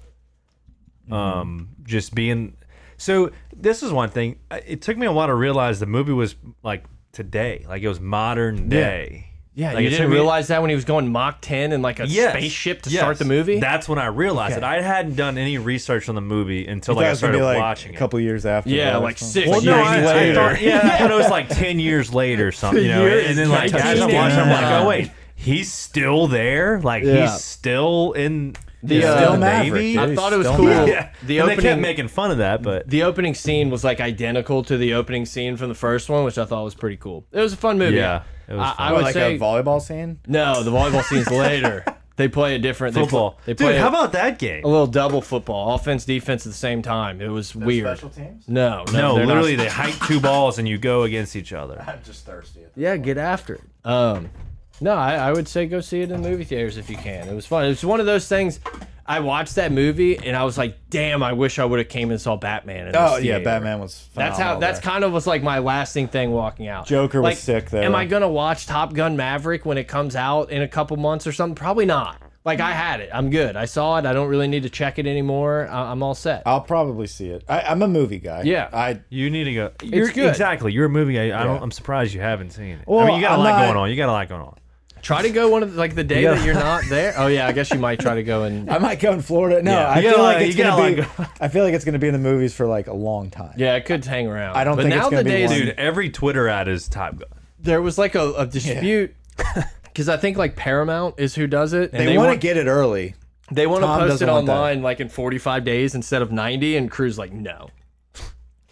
[SPEAKER 3] Um, just being so. This is one thing. I- It took me a while to realize the movie was like today, like it was modern day.
[SPEAKER 1] Yeah,
[SPEAKER 3] Like,
[SPEAKER 1] you
[SPEAKER 3] it
[SPEAKER 1] didn't
[SPEAKER 3] took me-
[SPEAKER 1] realize that when he was going Mach 10 in like a
[SPEAKER 3] Yes,
[SPEAKER 1] spaceship to
[SPEAKER 3] yes.
[SPEAKER 1] start the movie?
[SPEAKER 3] That's when I realized it. I hadn't done any research on the movie until
[SPEAKER 2] Thought
[SPEAKER 3] like
[SPEAKER 2] it
[SPEAKER 3] I
[SPEAKER 2] was gonna
[SPEAKER 3] started
[SPEAKER 2] be like
[SPEAKER 3] watching
[SPEAKER 2] a
[SPEAKER 3] it.
[SPEAKER 2] couple years after.
[SPEAKER 1] yeah,
[SPEAKER 2] that or
[SPEAKER 1] like
[SPEAKER 2] something.
[SPEAKER 1] six
[SPEAKER 3] Well,
[SPEAKER 1] years
[SPEAKER 3] no, I, I
[SPEAKER 1] later.
[SPEAKER 2] [laughs]
[SPEAKER 3] thought, yeah, I thought it was like ten years later, or something, you know.
[SPEAKER 1] Years
[SPEAKER 3] And then like
[SPEAKER 1] later.
[SPEAKER 3] as I'm watching, I'm like,
[SPEAKER 1] Yeah.
[SPEAKER 3] oh wait, he's still there. Like
[SPEAKER 4] Yeah.
[SPEAKER 3] he's still in
[SPEAKER 4] The,
[SPEAKER 3] the,
[SPEAKER 4] uh,
[SPEAKER 3] uh,
[SPEAKER 4] Still
[SPEAKER 2] Maverick,
[SPEAKER 3] Navy.
[SPEAKER 2] dude.
[SPEAKER 1] I thought it was
[SPEAKER 2] Still
[SPEAKER 1] cool.
[SPEAKER 2] mad.
[SPEAKER 3] Yeah,
[SPEAKER 1] The
[SPEAKER 3] and they kept
[SPEAKER 1] opening-
[SPEAKER 3] making fun of that, but
[SPEAKER 1] The opening scene was like identical to the opening scene from the first one, which I thought was pretty cool. It was a fun movie.
[SPEAKER 3] Yeah, it was
[SPEAKER 1] I,
[SPEAKER 3] fun.
[SPEAKER 1] I
[SPEAKER 2] Oh,
[SPEAKER 1] would
[SPEAKER 2] like
[SPEAKER 1] say
[SPEAKER 2] a volleyball scene.
[SPEAKER 1] no. The volleyball scene's
[SPEAKER 3] [laughs]
[SPEAKER 1] later. They play a different they pl-
[SPEAKER 3] football.
[SPEAKER 1] They play
[SPEAKER 3] Dude,
[SPEAKER 1] a-
[SPEAKER 3] how about that game?
[SPEAKER 1] a little double football, offense, defense at the same time. It was weird.
[SPEAKER 2] teams.
[SPEAKER 1] No, no,
[SPEAKER 3] No,
[SPEAKER 1] they're not-
[SPEAKER 3] [laughs] literally, they hike two balls and you go against each other.
[SPEAKER 2] I'm just thirsty.
[SPEAKER 1] Yeah, get after it. Um, no, I, I would say go see it in the movie theaters if you can. It was fun. It's one of those things. I watched that movie and I was like, damn, I wish I would have came and saw Batman. In this
[SPEAKER 2] Oh yeah,
[SPEAKER 1] theater.
[SPEAKER 2] Batman was.
[SPEAKER 1] That's how.
[SPEAKER 2] phenomenal
[SPEAKER 1] That's
[SPEAKER 2] there.
[SPEAKER 1] kind of was like my lasting thing walking out.
[SPEAKER 2] Joker was
[SPEAKER 1] Like,
[SPEAKER 2] sick, though.
[SPEAKER 1] Am I gonna watch Top Gun Maverick when it comes out in a couple months or something? Probably not. Like I had it. I'm good. I saw it. I don't really need to check it anymore. I I'm all set.
[SPEAKER 2] I'll probably see it. I, I'm a movie guy.
[SPEAKER 1] Yeah.
[SPEAKER 2] I
[SPEAKER 3] You need to go. You're,
[SPEAKER 1] good.
[SPEAKER 3] Exactly. You're a movie guy. I don't, I'm surprised you haven't seen it. I
[SPEAKER 2] Well,
[SPEAKER 3] mean, you got a
[SPEAKER 2] I'm
[SPEAKER 3] lot
[SPEAKER 2] not-
[SPEAKER 3] going on. You got a lot going on.
[SPEAKER 1] Try to go one of the, like the day
[SPEAKER 3] Yeah.
[SPEAKER 1] that you're not
[SPEAKER 2] [laughs]
[SPEAKER 1] there. Oh yeah, I guess you might try to go and
[SPEAKER 2] I might go in Florida. No,
[SPEAKER 3] Yeah.
[SPEAKER 2] I
[SPEAKER 3] You gotta
[SPEAKER 2] feel
[SPEAKER 3] let-
[SPEAKER 2] like it's
[SPEAKER 3] you gotta
[SPEAKER 2] gonna be.
[SPEAKER 3] let
[SPEAKER 2] I feel like it's gonna be in the movies for like a long time.
[SPEAKER 1] yeah, it could hang around.
[SPEAKER 2] I don't
[SPEAKER 1] but
[SPEAKER 2] think it's
[SPEAKER 1] now
[SPEAKER 2] gonna be
[SPEAKER 1] nowadays,
[SPEAKER 2] one.
[SPEAKER 3] Dude, every Twitter ad is Top Gun.
[SPEAKER 1] there was like a, a dispute [laughs] because I think like Paramount is who does it. And
[SPEAKER 2] They, want to get it early.
[SPEAKER 1] They want to
[SPEAKER 2] Tom
[SPEAKER 1] post
[SPEAKER 2] doesn't
[SPEAKER 1] it
[SPEAKER 2] want that.
[SPEAKER 1] online like in 45 days instead of 90, and Crew's like, no.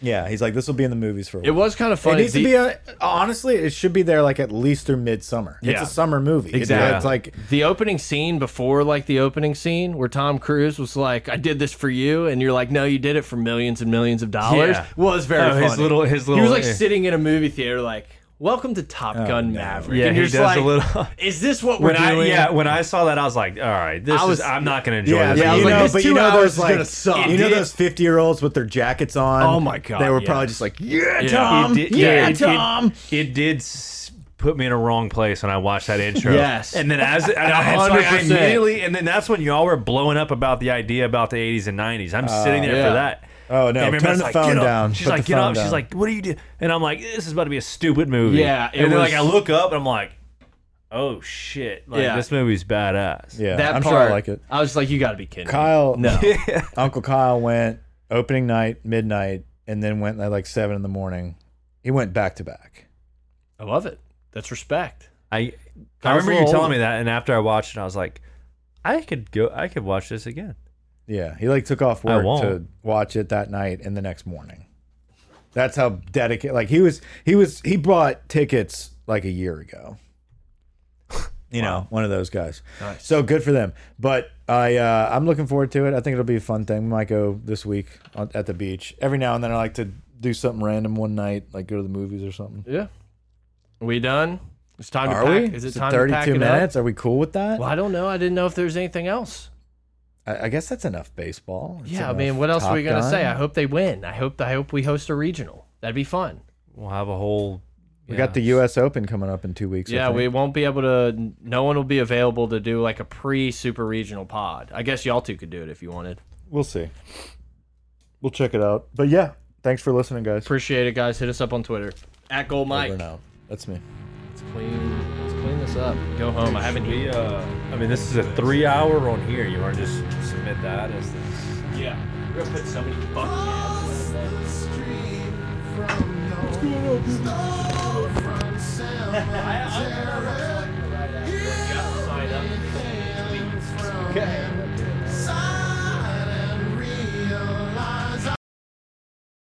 [SPEAKER 2] Yeah, he's like, this will be in the movies for. A
[SPEAKER 1] It
[SPEAKER 2] while.
[SPEAKER 1] was kind of
[SPEAKER 2] It
[SPEAKER 1] funny.
[SPEAKER 2] needs to
[SPEAKER 1] The-
[SPEAKER 2] be a, honestly. It should be there like at least through midsummer. It's
[SPEAKER 1] Yeah.
[SPEAKER 2] a summer movie. It's-
[SPEAKER 1] Exactly.
[SPEAKER 2] It's like
[SPEAKER 1] the opening scene before like the opening scene where Tom Cruise was like, I did this for you, and you're like, No, you did it for millions and millions of dollars
[SPEAKER 3] Yeah.
[SPEAKER 1] was very
[SPEAKER 3] Oh,
[SPEAKER 1] funny.
[SPEAKER 3] his little- his
[SPEAKER 1] He
[SPEAKER 3] little-
[SPEAKER 1] was like
[SPEAKER 3] yeah.
[SPEAKER 1] sitting in a movie theater like Welcome to Top Gun Maverick.
[SPEAKER 3] Yeah,
[SPEAKER 1] and
[SPEAKER 3] he
[SPEAKER 1] you're just
[SPEAKER 3] does
[SPEAKER 1] like,
[SPEAKER 3] a little-
[SPEAKER 1] [laughs] Is this what we're
[SPEAKER 3] When I
[SPEAKER 1] doing?
[SPEAKER 3] yeah, when I saw that, I was like, all right, this
[SPEAKER 1] I was-
[SPEAKER 3] is. I'm not gonna enjoy this.
[SPEAKER 2] but
[SPEAKER 1] I was
[SPEAKER 2] you
[SPEAKER 1] like,
[SPEAKER 2] know,
[SPEAKER 1] this
[SPEAKER 2] but you
[SPEAKER 1] two
[SPEAKER 2] know,
[SPEAKER 1] hours
[SPEAKER 2] those
[SPEAKER 1] is
[SPEAKER 2] like,
[SPEAKER 1] gonna suck.
[SPEAKER 2] you know
[SPEAKER 1] It did.
[SPEAKER 2] those fifty-year-olds with their jackets on.
[SPEAKER 1] Oh my God,
[SPEAKER 2] They were
[SPEAKER 1] yeah.
[SPEAKER 2] probably just like, "Yeah, Tom,
[SPEAKER 3] It did-
[SPEAKER 2] yeah,
[SPEAKER 3] it- it-
[SPEAKER 2] Tom."
[SPEAKER 3] It, did s- put me in a wrong place when I watched that intro.
[SPEAKER 1] Yes.
[SPEAKER 3] and then as and I, it's like I
[SPEAKER 1] 100%.
[SPEAKER 3] immediately, and then that's when y'all were blowing up about the idea about the 80s and 90s. I'm sitting there
[SPEAKER 1] yeah.
[SPEAKER 3] for that.
[SPEAKER 2] Oh, no.
[SPEAKER 3] And
[SPEAKER 2] Turn
[SPEAKER 3] Remere's
[SPEAKER 2] the phone
[SPEAKER 3] "Get up."
[SPEAKER 2] down.
[SPEAKER 3] She's
[SPEAKER 2] Put
[SPEAKER 3] like,
[SPEAKER 2] the
[SPEAKER 3] get
[SPEAKER 2] phone
[SPEAKER 3] up.
[SPEAKER 2] down.
[SPEAKER 3] She's like, what do you do? And I'm like, this is about to be a stupid movie.
[SPEAKER 1] Yeah, it
[SPEAKER 3] and then
[SPEAKER 1] was-
[SPEAKER 3] like I look up and I'm like, oh shit, like
[SPEAKER 1] Yeah.
[SPEAKER 3] this movie's badass.
[SPEAKER 2] Yeah,
[SPEAKER 1] that
[SPEAKER 2] I'm
[SPEAKER 1] part,
[SPEAKER 2] sure I like it.
[SPEAKER 1] I was like, You gotta be kidding. me."
[SPEAKER 2] Kyle, [laughs]
[SPEAKER 1] No.
[SPEAKER 2] Uncle Kyle went opening night, midnight, and then went at like seven in the morning. He went back to back.
[SPEAKER 1] I love it. That's respect.
[SPEAKER 3] I I
[SPEAKER 1] Kyle's
[SPEAKER 3] remember
[SPEAKER 1] a
[SPEAKER 3] you
[SPEAKER 1] little
[SPEAKER 3] telling
[SPEAKER 1] older.
[SPEAKER 3] me that, and after I watched it, I was like, I could go, I could watch this again.
[SPEAKER 2] Yeah, he like took off
[SPEAKER 3] I
[SPEAKER 2] work
[SPEAKER 3] won't.
[SPEAKER 2] to watch it that night and the next morning. That's how dedicated. Like he was, he was, he bought tickets like a year ago. [laughs] You know, one of those guys. So good for them. But I, uh, I'm looking forward to it. I think it'll be a fun thing. We might go this week on, at the beach. Every now and then, I like to do something random one night, like go to the movies or something.
[SPEAKER 1] Yeah. Are we done? It's time
[SPEAKER 2] Are
[SPEAKER 1] to
[SPEAKER 2] we?
[SPEAKER 1] pack. Is it time to
[SPEAKER 2] 32
[SPEAKER 1] pack it up?
[SPEAKER 2] minutes? Are we cool with that?
[SPEAKER 1] Well, I don't know. I didn't know if there's anything else.
[SPEAKER 2] I, I guess that's enough baseball. It's
[SPEAKER 1] yeah, I
[SPEAKER 2] enough
[SPEAKER 1] mean, what else are
[SPEAKER 2] Top
[SPEAKER 1] we gonna
[SPEAKER 2] Gun.
[SPEAKER 1] say? I hope they win. I hope I hope we host a regional. That'd be fun.
[SPEAKER 3] We'll have a whole.
[SPEAKER 2] we got the U.S. Open coming up in two weeks. I
[SPEAKER 1] yeah,
[SPEAKER 2] think.
[SPEAKER 1] we won't be able to. No one will be available to do like a pre super regional pod. I guess y'all two could do it if you wanted.
[SPEAKER 2] We'll see. We'll check it out. But yeah, thanks for listening, guys.
[SPEAKER 1] Appreciate it, guys. Hit us up on Twitter at Gold Mike.
[SPEAKER 2] Over and out. That's me.
[SPEAKER 1] Let's clean. Let's clean this up. Go home. I haven't.
[SPEAKER 3] We, uh, I mean, this is a three hour on here. You want to just submit that as the.
[SPEAKER 1] Yeah, we're gonna put so many fucking.
[SPEAKER 5] Across the street from your storefront cemetery.